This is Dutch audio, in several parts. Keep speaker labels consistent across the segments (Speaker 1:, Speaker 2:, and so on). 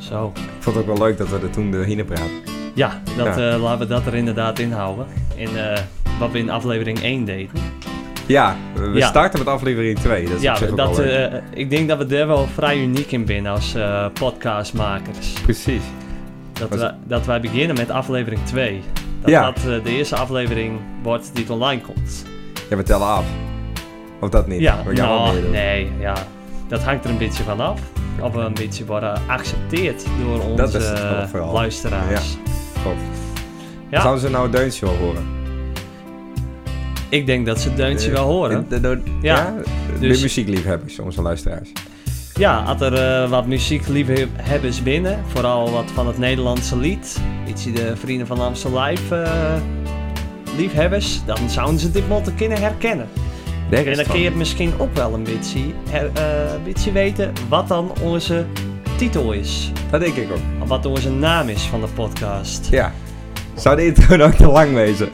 Speaker 1: Zo.
Speaker 2: Ik vond het ook wel leuk dat we er toen doorheen praten.
Speaker 1: Ja, dat,
Speaker 2: Ja.
Speaker 1: eh, laten we dat er inderdaad in houden. In, eh, wat we in aflevering 1 deden.
Speaker 2: Ja, we we
Speaker 1: Ja.
Speaker 2: starten met aflevering 2. Dat is op zich ook
Speaker 1: dat,
Speaker 2: wel leuk.
Speaker 1: eh, ik denk dat we daar wel vrij uniek in zijn als eh, podcastmakers.
Speaker 2: Precies.
Speaker 1: Dat,
Speaker 2: Was-
Speaker 1: we, dat wij beginnen met aflevering 2. Dat
Speaker 2: Ja.
Speaker 1: dat eh, de eerste aflevering wordt die het online komt.
Speaker 2: Ja, we tellen af. Of dat niet?
Speaker 1: Ja,
Speaker 2: we gaan wel
Speaker 1: nou,
Speaker 2: meedoen.
Speaker 1: nee, ja. Dat hangt er een beetje van af. Of we een beetje worden geaccepteerd door onze
Speaker 2: Dat is het wel vooral.
Speaker 1: luisteraars.
Speaker 2: Top.
Speaker 1: Ja.
Speaker 2: Zouden ze nou Deuntje wel horen?
Speaker 1: Ik denk dat ze het deuntje
Speaker 2: Eh,
Speaker 1: wel horen.
Speaker 2: De, de- de-
Speaker 1: Ja,
Speaker 2: ja,
Speaker 1: dus-
Speaker 2: de muziekliefhebbers, onze luisteraars.
Speaker 1: Ja, had er eh, wat muziekliefhebbers binnen. Vooral wat van het Nederlandse lied. Ietsje de Vrienden van Amstel Live eh, liefhebbers. Dan zouden ze dit moeten kunnen herkennen.
Speaker 2: Daar is
Speaker 1: En dan
Speaker 2: het
Speaker 1: kun je
Speaker 2: van.
Speaker 1: het misschien ook wel een beetje, her- eh, een beetje weten wat dan onze titel is.
Speaker 2: Dat denk ik ook.
Speaker 1: Of wat onze naam is van de podcast.
Speaker 2: Ja. Zou de intro nou te lang wezen?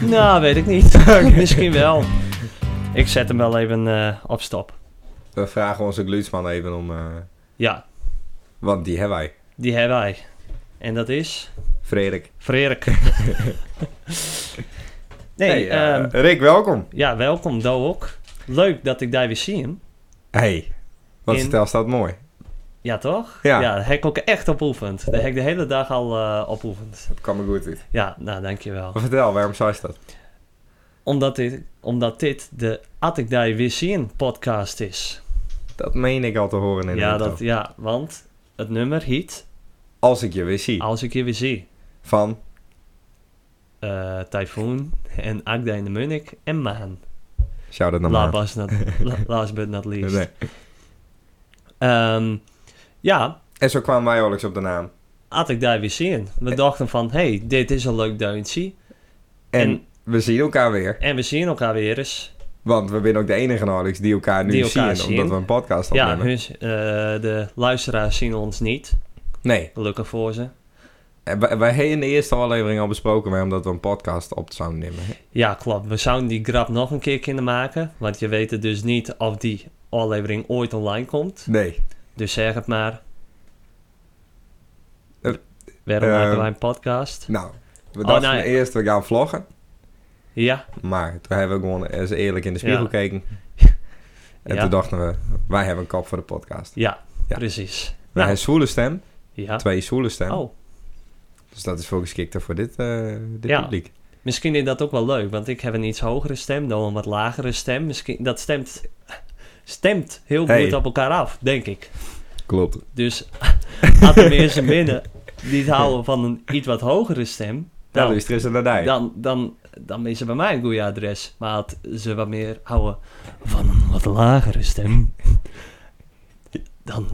Speaker 1: Nou, weet ik niet. misschien wel. Ik zet hem wel even eh, op stop.
Speaker 2: we vragen onze glutsman even om... eh,
Speaker 1: Ja,
Speaker 2: want die hebben wij.
Speaker 1: die hebben wij. En dat is...
Speaker 2: Frederik.
Speaker 1: Frerik. nee,
Speaker 2: Hey, eh,
Speaker 1: ehm,
Speaker 2: Rick, welkom.
Speaker 1: ja, welkom Do ook. Leuk dat ik daar weer zie hem.
Speaker 2: Hey, wat
Speaker 1: In-
Speaker 2: vertel staat mooi.
Speaker 1: Ja, toch?
Speaker 2: Ja.
Speaker 1: daar heb ik ook echt op oefend. Daar heb ik de hele dag al eh op oefend.
Speaker 2: Dat kan me goed uit.
Speaker 1: Ja, nou, dankjewel.
Speaker 2: Maar vertel, waarom zou je dat?
Speaker 1: Omdat dit, omdat dit de At ik daar weer zie hem podcast is.
Speaker 2: Dat meen ik al te horen in de
Speaker 1: ja,
Speaker 2: intro.
Speaker 1: dat, ja, want het nummer heet
Speaker 2: Als ik je weer zie.
Speaker 1: Als ik je weer zie.
Speaker 2: Van,
Speaker 1: Eh Typhoon en Agda in de Munnik en Maan.
Speaker 2: shout out naar
Speaker 1: La-
Speaker 2: Maarten.
Speaker 1: bas- not- la- Last but not least.
Speaker 2: Nee.
Speaker 1: Ehm, ja,
Speaker 2: En zo kwamen wij oorlijks op de naam.
Speaker 1: had ik daar weer zin in.
Speaker 2: Eh.
Speaker 1: We dachten van, hey, dit is een leuk deuntje.
Speaker 2: En,
Speaker 1: En-
Speaker 2: we zien elkaar weer.
Speaker 1: En we zien elkaar weer eens.
Speaker 2: Want we zijn ook de enige nauwelijks die elkaar nu
Speaker 1: Die elkaar
Speaker 2: zien.
Speaker 1: zien.
Speaker 2: Omdat we een podcast
Speaker 1: Ja,
Speaker 2: opnemen.
Speaker 1: hun, eh, de luisteraars zien ons niet.
Speaker 2: Nee.
Speaker 1: Gelukkig voor ze.
Speaker 2: En wij, wij hebben in de eerste aflevering al besproken waarom dat we een podcast op zouden nemen.
Speaker 1: Ja, klopt. We zouden die grap nog een keer kunnen maken. Want je weet het dus niet of die aflevering ooit online komt.
Speaker 2: Nee.
Speaker 1: Dus zeg het maar.
Speaker 2: Eh,
Speaker 1: Waarom
Speaker 2: eh,
Speaker 1: maken wij een podcast?
Speaker 2: Nou, we
Speaker 1: Oh,
Speaker 2: dachten
Speaker 1: nee.
Speaker 2: eerst we gaan vloggen.
Speaker 1: Ja,
Speaker 2: Maar toen hebben we gewoon eens eerlijk in de spiegel
Speaker 1: Ja.
Speaker 2: gekeken. En
Speaker 1: Ja.
Speaker 2: toen dachten we, wij hebben een kop voor de podcast.
Speaker 1: ja,
Speaker 2: Ja.
Speaker 1: precies.
Speaker 2: We
Speaker 1: Nou.
Speaker 2: hebben zwoele stem.
Speaker 1: Ja.
Speaker 2: Twee zwoele stem.
Speaker 1: Oh,
Speaker 2: Dus dat is voor geschikter voor dit, eh, dit
Speaker 1: Ja.
Speaker 2: publiek.
Speaker 1: misschien is dat ook wel leuk. Want ik heb een iets hogere stem, dan een wat lagere stem. Misschien, dat stemt, stemt heel
Speaker 2: Hey.
Speaker 1: goed op elkaar af, denk ik.
Speaker 2: Klopt.
Speaker 1: Dus had er mensen binnen die het houden van een iets wat hogere stem,
Speaker 2: Nou,
Speaker 1: dan,
Speaker 2: luister eens naar mij.
Speaker 1: dan, dan, dan is ze bij mij een goede adres. Maar had ze wat meer houden van een wat lagere stem, dan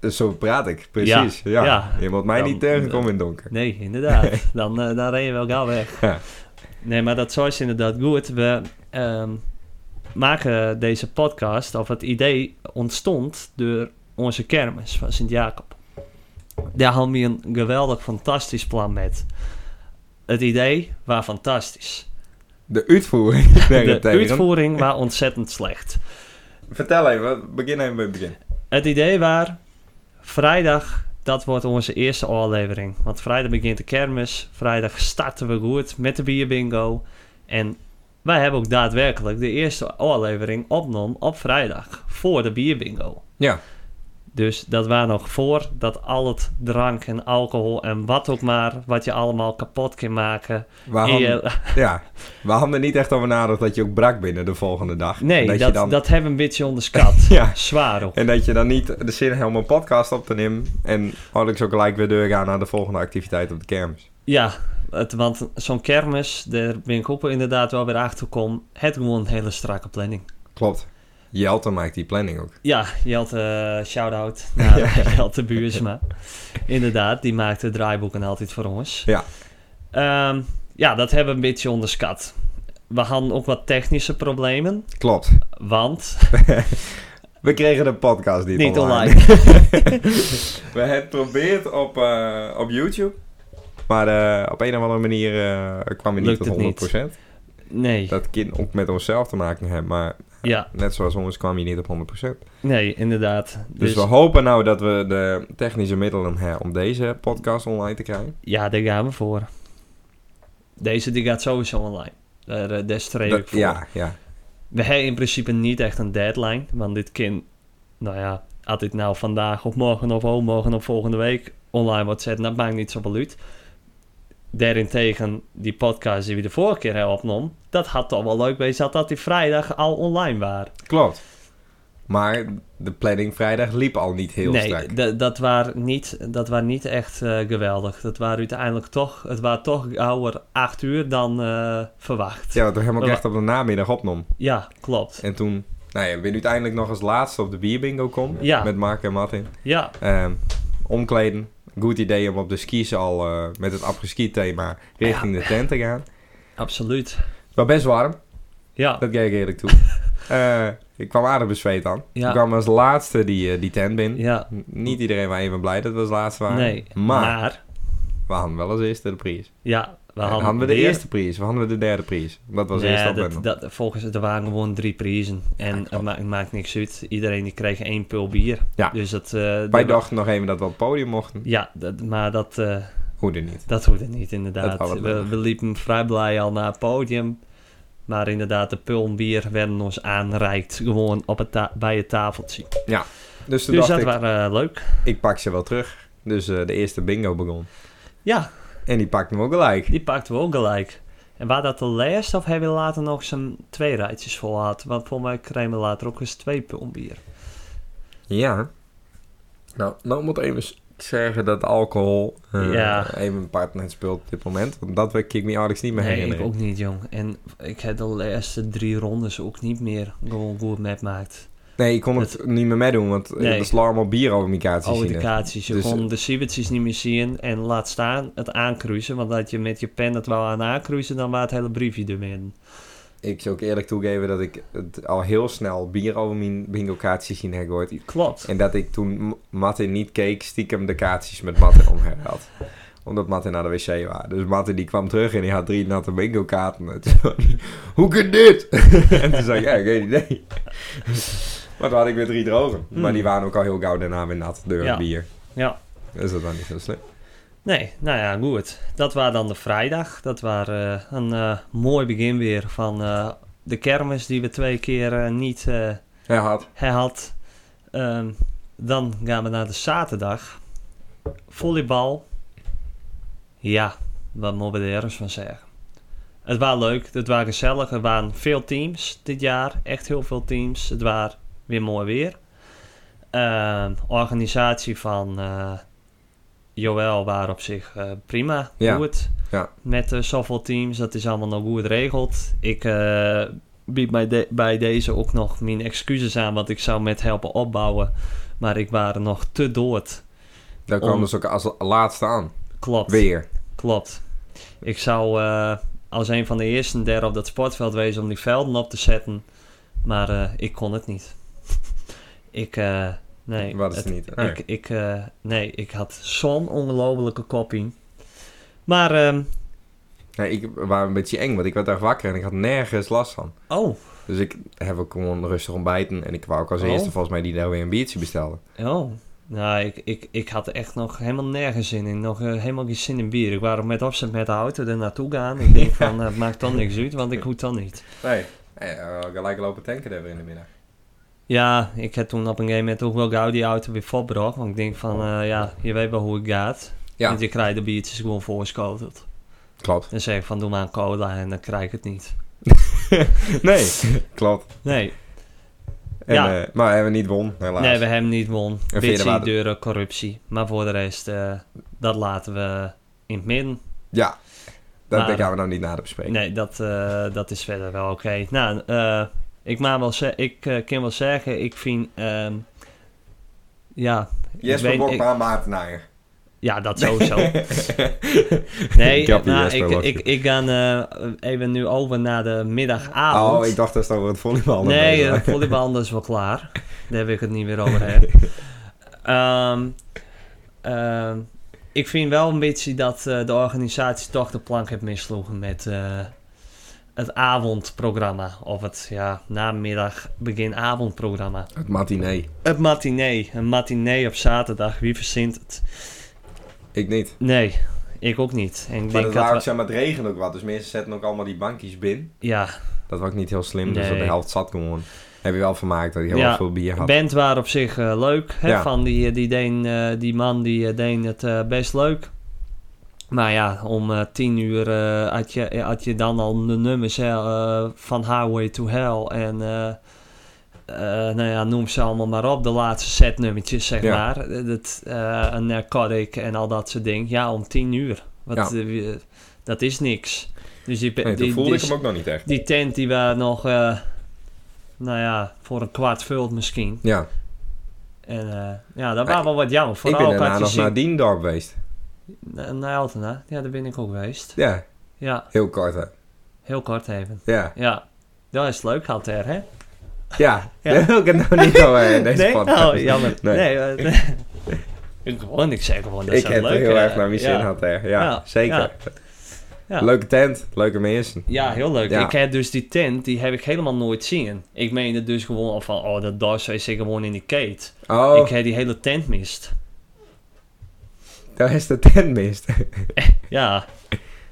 Speaker 2: Dus Zo praat ik, precies.
Speaker 1: Ja,
Speaker 2: Ja,
Speaker 1: ja.
Speaker 2: Je moet mij
Speaker 1: Dan-
Speaker 2: niet tegenkomen in het donker.
Speaker 1: nee, inderdaad. Dan, eh, dan ren je wel gauw weg.
Speaker 2: Ja.
Speaker 1: Nee, maar dat is inderdaad goed. We ehm, maken deze podcast, of het idee ontstond door onze kermis van Sint-Jacob. Daar hadden we een geweldig fantastisch plan met. Het idee was fantastisch.
Speaker 2: De uitvoering. Nee,
Speaker 1: De
Speaker 2: dat tegen.
Speaker 1: uitvoering was ontzettend slecht.
Speaker 2: Vertel even, begin even bij het begin.
Speaker 1: Het idee was, vrijdag, dat wordt onze eerste aflevering. Want vrijdag begint de kermis. Vrijdag starten we goed met de bierbingo. En wij hebben ook daadwerkelijk de eerste aflevering opgenomen op vrijdag. Voor de bierbingo.
Speaker 2: Ja,
Speaker 1: Dus dat was nog voor dat al het drank en alcohol en wat ook maar, wat je allemaal kapot kan maken.
Speaker 2: waarom,
Speaker 1: in je-
Speaker 2: ja, we hadden er niet echt over nagedacht dat je ook brak binnen de volgende dag.
Speaker 1: nee,
Speaker 2: En
Speaker 1: dat,
Speaker 2: je
Speaker 1: dat,
Speaker 2: dan,
Speaker 1: hebben we een beetje onderschat.
Speaker 2: Ja.
Speaker 1: Zwaar op.
Speaker 2: En dat je dan niet de zin hebt om een podcast op te nemen. En eigenlijk ook gelijk weer doorgaan naar de volgende activiteit op de kermis.
Speaker 1: Ja, het, want zo'n kermis, daar ben ik ook wel inderdaad wel weer achter gekomen. Het gewoon een hele strakke planning.
Speaker 2: Klopt. Jelte maakt die planning ook.
Speaker 1: Ja, Jelte, eh, shout-out naar Jelte Buursma. Inderdaad, die maakt de draaiboeken altijd voor ons.
Speaker 2: Ja.
Speaker 1: Ehm, ja, dat hebben we een beetje onderschat. We hadden ook wat technische problemen,
Speaker 2: Klopt.
Speaker 1: want
Speaker 2: We kregen de podcast niet,
Speaker 1: niet
Speaker 2: online.
Speaker 1: online.
Speaker 2: We hebben het geprobeerd op, eh, op YouTube. Maar eh, op een of andere manier eh kwam je niet
Speaker 1: Lukt
Speaker 2: tot
Speaker 1: het
Speaker 2: 100%.
Speaker 1: niet. Nee,
Speaker 2: Dat kind ook met onszelf te maken hebben. Maar
Speaker 1: Ja.
Speaker 2: Net zoals ons kwam je niet op 100%.
Speaker 1: Nee, inderdaad.
Speaker 2: Dus,
Speaker 1: Dus,
Speaker 2: we hopen nou dat we de technische middelen hebben om deze podcast online te krijgen.
Speaker 1: ja, daar gaan we voor. Deze die gaat sowieso online. Daar, eh, daar streef ik
Speaker 2: Dat-
Speaker 1: voor.
Speaker 2: ja, ja.
Speaker 1: We hebben in principe niet echt een deadline. Want dit kind, nou ja, had dit nou vandaag of morgen of overmorgen of volgende week online wordt zetten, dat maakt niet zo beluut. Daarentegen, die podcast die we de vorige keer hebben opgenomen, dat had toch wel leuk geweest dat dat die vrijdag al online waren.
Speaker 2: Klopt. Maar de planning vrijdag liep al niet heel
Speaker 1: nee,
Speaker 2: strak.
Speaker 1: d- dat waren niet, dat waren niet echt eh, geweldig. Dat waren uiteindelijk toch, het waren toch ouder acht uur dan eh, verwacht.
Speaker 2: Ja, want we hebben hem ook
Speaker 1: Maar-
Speaker 2: echt op de namiddag opnom.
Speaker 1: ja klopt.
Speaker 2: En toen, nou ja, ben uiteindelijk nog als laatste op de bierbingo kom.
Speaker 1: Ja.
Speaker 2: Met Mark en Martin.
Speaker 1: Ja,
Speaker 2: Ehm, omkleden. Goed idee om op de skis al eh, met het apres-ski thema richting de tent te gaan.
Speaker 1: absoluut.
Speaker 2: Het was best warm,
Speaker 1: Ja,
Speaker 2: dat geef ik eerlijk toe. Eh, ik kwam aardig bezweet aan.
Speaker 1: Ja.
Speaker 2: Ik kwam als laatste die, eh, die tent binnen.
Speaker 1: ja.
Speaker 2: N- Niet iedereen was even blij dat we als laatste waren.
Speaker 1: Nee,
Speaker 2: Maar,
Speaker 1: maar
Speaker 2: we hadden wel als eerste de prijs.
Speaker 1: Ja, we
Speaker 2: En
Speaker 1: hadden,
Speaker 2: Eh, we de
Speaker 1: weer-
Speaker 2: eerste prijs, we hadden we de derde prijs. Dat was
Speaker 1: Nee,
Speaker 2: eerst al
Speaker 1: dat, dat, volgens het waren gewoon drie prijzen. En
Speaker 2: klopt.
Speaker 1: het ma- maakt niks uit. Iedereen die kreeg één pul bier.
Speaker 2: Ja.
Speaker 1: Dus dat, eh,
Speaker 2: Wij
Speaker 1: dat-
Speaker 2: dachten nog even dat we op het podium mochten.
Speaker 1: Ja, dat, maar dat, eh
Speaker 2: Hoe dan niet.
Speaker 1: dat hoorde niet
Speaker 2: Dat
Speaker 1: inderdaad.
Speaker 2: hadden we
Speaker 1: we,
Speaker 2: nog.
Speaker 1: we liepen vrij blij al naar het podium. Maar inderdaad, de pul en bier werden ons aanreikt. Gewoon op het ta- bij het tafeltje.
Speaker 2: Dus toen
Speaker 1: Dus dat
Speaker 2: dacht ik,
Speaker 1: was leuk.
Speaker 2: ik pak ze wel terug. Dus eh, de eerste bingo begon.
Speaker 1: Ja,
Speaker 2: En die pakte hem ook gelijk.
Speaker 1: die pakten we ook gelijk. En waar dat de laatste of hebben we later nog zijn twee rijtjes vol gehad? Want voor mij kregen we later ook eens twee pul bier.
Speaker 2: Ja. Nou, nou moet even s- zeggen dat alcohol eh,
Speaker 1: Ja.
Speaker 2: even een part in het speel op dit moment. Want dat weet ik me Alex niet meer
Speaker 1: Nee, ik
Speaker 2: herinneren.
Speaker 1: ook niet, jong. En ik heb de laatste drie rondes ook niet meer gewoon goed metmaakt.
Speaker 2: Nee, ik kon het, niet meer meedoen, want eh,
Speaker 1: Nee.
Speaker 2: dat is allemaal bier over elkaar te
Speaker 1: Alle
Speaker 2: zien.
Speaker 1: indicaties. Je
Speaker 2: Dus-
Speaker 1: kon de siebetjes niet meer zien en laat staan het aankruisen. Want dat je met je pen het wou aan aankruisen, dan was het hele briefje ermee.
Speaker 2: Ik zou ook eerlijk toegeven dat ik het al heel snel bier over mijn bingo kaartjes zien heb gehoord.
Speaker 1: Klopt.
Speaker 2: En dat ik toen M- Martin niet keek, stiekem de kaartjes met Martin omherhaald. Omdat Martin naar de wc was. Dus Martin die kwam terug en die had drie natte bingo kaarten. En toen zei hij, Hoe kan dit? en toen zei ik, ja, geen idee. maar toen had ik weer drie drogen. Maar
Speaker 1: Hmm.
Speaker 2: die waren ook al heel gauw daarna weer nat door het
Speaker 1: Ja.
Speaker 2: bier.
Speaker 1: Ja.
Speaker 2: Dus dat was niet zo slim.
Speaker 1: Nee, nou ja, goed. Dat was dan de vrijdag. Dat was eh, een eh, mooi begin weer van eh, de kermis die we twee keer eh, niet... eh,
Speaker 2: Hij had.
Speaker 1: Hij had. ehm, dan gaan we naar de zaterdag. Volleybal. Ja, wat moeten we er eens van zeggen? Het was leuk, het was gezellig. Er waren veel teams dit jaar. Echt heel veel teams. Het was weer mooi weer. Ehm, organisatie van eh Joël waren op zich eh, prima.
Speaker 2: Ja,
Speaker 1: Goed.
Speaker 2: ja.
Speaker 1: Met eh, zoveel teams, dat is allemaal nog goed geregeld. Ik eh, bied mij de- bij deze ook nog mijn excuses aan, want ik zou met helpen opbouwen. Maar ik was nog te dood.
Speaker 2: Daar kwam
Speaker 1: Om-
Speaker 2: dus ook als laatste aan.
Speaker 1: Klopt.
Speaker 2: Weer.
Speaker 1: Klopt. Ik zou eh, als een van de eersten daar op dat sportveld wezen om die velden op te zetten. Maar eh, ik kon het niet. ik, eh, nee.
Speaker 2: Wat is
Speaker 1: het-
Speaker 2: er niet? Ah.
Speaker 1: Ik, ik, eh, nee, ik had zo'n ongelofelijke kopie. Maar, ehm,
Speaker 2: Nee, ik was een beetje eng, want ik werd echt wakker en ik had nergens last van.
Speaker 1: oh,
Speaker 2: Dus ik heb ook gewoon rustig ontbijten. En ik wou ook als
Speaker 1: Oh.
Speaker 2: eerste volgens mij die daar weer een biertje bestellen.
Speaker 1: oh. Nou, ik, ik, ik had er echt nog helemaal nergens zin in. Nog eh, helemaal geen zin in bier. Ik was ook met opzet met de auto er naartoe gaan. Ik denk van, eh, het maakt dan niks uit, want ik hoef dan niet.
Speaker 2: Nee.
Speaker 1: eh,
Speaker 2: gelijk lopen tanken daar weer in de middag.
Speaker 1: Ja, ik heb toen op een gegeven moment ook wel gauw die auto weer voorbracht. Want ik denk van, eh, ja, je weet wel hoe het gaat.
Speaker 2: Oh. Ja.
Speaker 1: Want je krijgt de biertjes gewoon voorschoteld.
Speaker 2: Klopt.
Speaker 1: Dan zeg ik van, doe maar een cola en dan krijg ik het niet.
Speaker 2: Nee. Klopt.
Speaker 1: Nee,
Speaker 2: En,
Speaker 1: Ja.
Speaker 2: eh, maar we hebben niet won, helaas.
Speaker 1: nee we hebben niet won.
Speaker 2: verder
Speaker 1: Bitsie,
Speaker 2: waren-
Speaker 1: deuren, corruptie. Maar voor de rest, eh, dat laten we in het midden.
Speaker 2: Ja. Dat
Speaker 1: Maar-
Speaker 2: daar gaan we nou niet nader bespreken.
Speaker 1: Nee, dat, eh, dat is verder wel oké. Nou, eh, ik, maar wel ze- ik eh, kan wel zeggen, ik vind... ehm, ja,
Speaker 2: Jesper
Speaker 1: ik weet- ik- Oh.
Speaker 2: Bokma, Maartenaar.
Speaker 1: ja, dat sowieso. Nee,
Speaker 2: Gappie
Speaker 1: nou,
Speaker 2: Jesper
Speaker 1: ik,
Speaker 2: was
Speaker 1: ik,
Speaker 2: het.
Speaker 1: ik ga eh, even nu over naar de middagavond.
Speaker 2: Oh, ik dacht dat ze over het volleybal
Speaker 1: Ah, Nee,
Speaker 2: bezig
Speaker 1: eh,
Speaker 2: waren.
Speaker 1: volleybal anders wel klaar. Daar wil ik het niet meer over hebben. Ehm, ehm, ik vind wel een beetje dat eh, de organisatie toch de plank heeft misloegen met eh, het avondprogramma. Of het ja, namiddag, begin avondprogramma.
Speaker 2: Het matinee.
Speaker 1: Het matinee. Een matinee op zaterdag. Wie verzint het?
Speaker 2: Ik niet.
Speaker 1: Nee, ik ook niet. En ik
Speaker 2: Maar
Speaker 1: denk
Speaker 2: dat
Speaker 1: dat
Speaker 2: wou ik
Speaker 1: we-
Speaker 2: zeggen, maar het regent ook wat. Dus mensen zetten ook allemaal die bankjes binnen.
Speaker 1: ja,
Speaker 2: Dat was ook niet heel slim, dus
Speaker 1: Nee.
Speaker 2: dat de helft zat gewoon. Heb je wel vermaakt dat hij heel
Speaker 1: Ja.
Speaker 2: veel bier had.
Speaker 1: band waren op zich eh, leuk. Hè?
Speaker 2: Ja.
Speaker 1: Van die, eh, die, deen, eh, die man die eh, deed het eh, best leuk. Maar ja, om eh, tien uur eh, had, je, had je dan al de nummers hè, eh, van Highway to Hell. En eh, eh, nou ja, noem ze allemaal maar op. De laatste set nummertjes, zeg
Speaker 2: Ja.
Speaker 1: maar. Eh, Dat, eh, een narcotic en al dat soort dingen. Ja, om tien uur. Wat,
Speaker 2: Ja.
Speaker 1: eh, wie- dat is niks. Dus die,
Speaker 2: Nee, toen
Speaker 1: die,
Speaker 2: voelde
Speaker 1: die-
Speaker 2: ik hem ook nog niet echt.
Speaker 1: die tent die we nog, eh, nou ja, voor een kwart vult misschien.
Speaker 2: Ja,
Speaker 1: En eh, ja, dat
Speaker 2: Maar
Speaker 1: was wel wat jammer.
Speaker 2: ik
Speaker 1: Vooral
Speaker 2: ben
Speaker 1: ook
Speaker 2: daarna
Speaker 1: had je
Speaker 2: nog
Speaker 1: zien-
Speaker 2: naar Diendorp geweest.
Speaker 1: Na- naar Altena. Ja, daar ben ik ook geweest.
Speaker 2: Ja,
Speaker 1: Ja,
Speaker 2: heel kort hè.
Speaker 1: heel kort even.
Speaker 2: Ja,
Speaker 1: Ja, dat is leuk gehad er, hè?
Speaker 2: ja.
Speaker 1: Ja.
Speaker 2: Daar wil ik het nou niet over hebben in deze podcast.
Speaker 1: Oh, jammer. Nee.
Speaker 2: Nee.
Speaker 1: eh, nee. ik, gewoon, ik zeg gewoon, dat
Speaker 2: ik
Speaker 1: is
Speaker 2: heb
Speaker 1: leuk.
Speaker 2: er heel
Speaker 1: eh,
Speaker 2: erg naar mijn zin
Speaker 1: ja.
Speaker 2: had hè. Ja,
Speaker 1: Ja,
Speaker 2: zeker.
Speaker 1: ja. Ja.
Speaker 2: Leuke tent, leuke mensen.
Speaker 1: Ja, heel leuk.
Speaker 2: Ja.
Speaker 1: Ik heb dus die tent, die heb ik helemaal nooit zien. Ik meende dus gewoon al van, oh, dat daar is ik gewoon in die kate.
Speaker 2: Oh,
Speaker 1: Ik heb die hele tent mist.
Speaker 2: daar is de tent mist.
Speaker 1: Ja,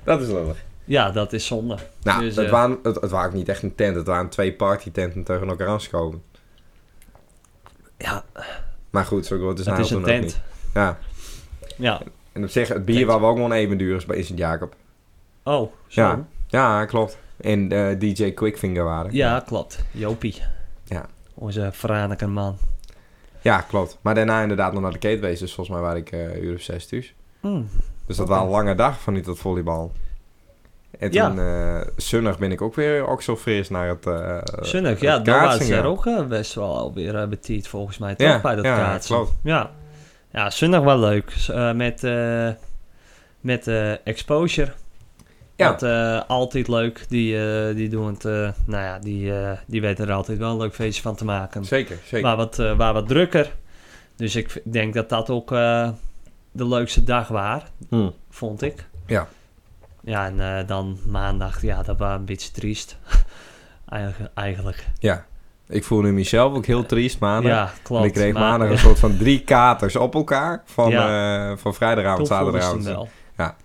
Speaker 2: dat is lullig.
Speaker 1: ja dat is zonde.
Speaker 2: Nou,
Speaker 1: Dus,
Speaker 2: het,
Speaker 1: eh,
Speaker 2: waren, het, het waren ook niet echt een tent. Het waren twee partytenten tegen elkaar aanschoven.
Speaker 1: Ja,
Speaker 2: Maar goed, zo wordt het
Speaker 1: het
Speaker 2: nou
Speaker 1: is een
Speaker 2: toen ook
Speaker 1: tent.
Speaker 2: niet. Ja.
Speaker 1: Ja.
Speaker 2: En op zich, het bier was wel gewoon even duur is bij Sint Jacob.
Speaker 1: Oh, zo.
Speaker 2: Ja. Ja, klopt. En eh, DJ Quickfinger waren.
Speaker 1: Ja, klopt. Jopie.
Speaker 2: Ja.
Speaker 1: Onze Franeker man.
Speaker 2: Ja, klopt. Maar daarna inderdaad nog naar de Gateways. Dus volgens mij was ik eh uur of zes thuis.
Speaker 1: Hmm.
Speaker 2: Dus dat
Speaker 1: Oké.
Speaker 2: was een lange dag vanuit dat volleybal. En
Speaker 1: Ja.
Speaker 2: toen, eh, zondag ben ik ook weer ook zo fris naar het eh
Speaker 1: Zonnig,
Speaker 2: het
Speaker 1: ja, daar was
Speaker 2: kaatsen
Speaker 1: er
Speaker 2: gaan.
Speaker 1: ook eh, best wel alweer eh, betiert volgens mij. Toch
Speaker 2: Ja,
Speaker 1: bij dat
Speaker 2: ja,
Speaker 1: kaatsen.
Speaker 2: klopt.
Speaker 1: Ja, ja zondag wel leuk. S- eh, met eh, met eh, Exposure.
Speaker 2: Ja.
Speaker 1: Dat eh, altijd leuk. Die, eh, die doen het, eh, nou ja, die, eh, die weten er altijd wel een leuk feestje van te maken.
Speaker 2: Zeker, zeker.
Speaker 1: Waar wat, eh, waar wat drukker. Dus ik v- denk dat dat ook eh, de leukste dag was.
Speaker 2: Hmm.
Speaker 1: vond ik.
Speaker 2: Ja.
Speaker 1: Ja, en eh, dan maandag, ja, dat was een beetje triest. Eigen- Eigenlijk.
Speaker 2: Ja. Ik voelde mezelf ook heel triest maandag.
Speaker 1: Ja, klopt.
Speaker 2: en ik kreeg
Speaker 1: maar-
Speaker 2: maandag een soort van drie katers op elkaar. Van, eh, van
Speaker 1: Toen
Speaker 2: vrijdagavond,
Speaker 1: voelde ze hem
Speaker 2: zaterdagavond.
Speaker 1: wel.
Speaker 2: Ja.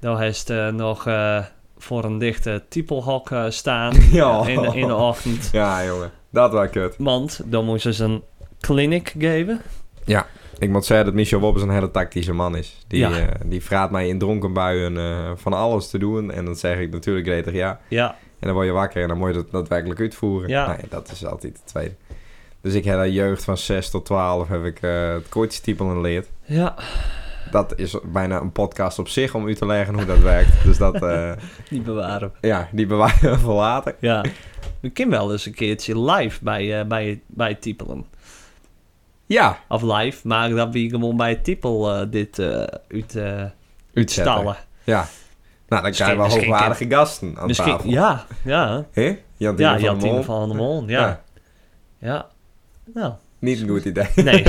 Speaker 1: Dan heeft eh, nog eh, voor een dichte typelhok eh, staan
Speaker 2: Ja.
Speaker 1: in, de- in de ochtend.
Speaker 2: Ja, jongen. Dat was kut.
Speaker 1: Want dan moesten ze een clinic geven.
Speaker 2: Ik moet zeggen dat Michel Wobbes een hele tactische man is. Die,
Speaker 1: Ja.
Speaker 2: eh, die vraagt mij in dronken buien eh, van alles te doen. En dan zeg ik natuurlijk gretig ja.
Speaker 1: Ja,
Speaker 2: En dan word je wakker en dan moet je dat daadwerkelijk uitvoeren.
Speaker 1: Ja.
Speaker 2: Nou dat is altijd het tweede. Dus ik heb een jeugd van 6 tot 12 heb ik eh het koortstypelen geleerd.
Speaker 1: ja.
Speaker 2: Dat is bijna een podcast op zich om u te leggen hoe dat werkt. Dus dat, eh,
Speaker 1: die bewaren we.
Speaker 2: ja, die bewaren we voor later.
Speaker 1: Ja. We kunnen wel eens een keertje live bij, eh, bij, bij typelen.
Speaker 2: Ja,
Speaker 1: Of live, maar dat we gewoon bij typel eh, dit eh uit eh,
Speaker 2: uitzetten.
Speaker 1: stallen.
Speaker 2: Ja. Nou, dan
Speaker 1: Misschien-
Speaker 2: krijgen we
Speaker 1: misschien
Speaker 2: hoogwaardige gasten aan
Speaker 1: Misschien,
Speaker 2: tafel.
Speaker 1: ja, ja.
Speaker 2: Hé? Jantine
Speaker 1: Ja,
Speaker 2: van der
Speaker 1: Jantine
Speaker 2: Mol.
Speaker 1: van der Mol, ja. Ja. Nou,
Speaker 2: Niet een goed idee.
Speaker 1: nee.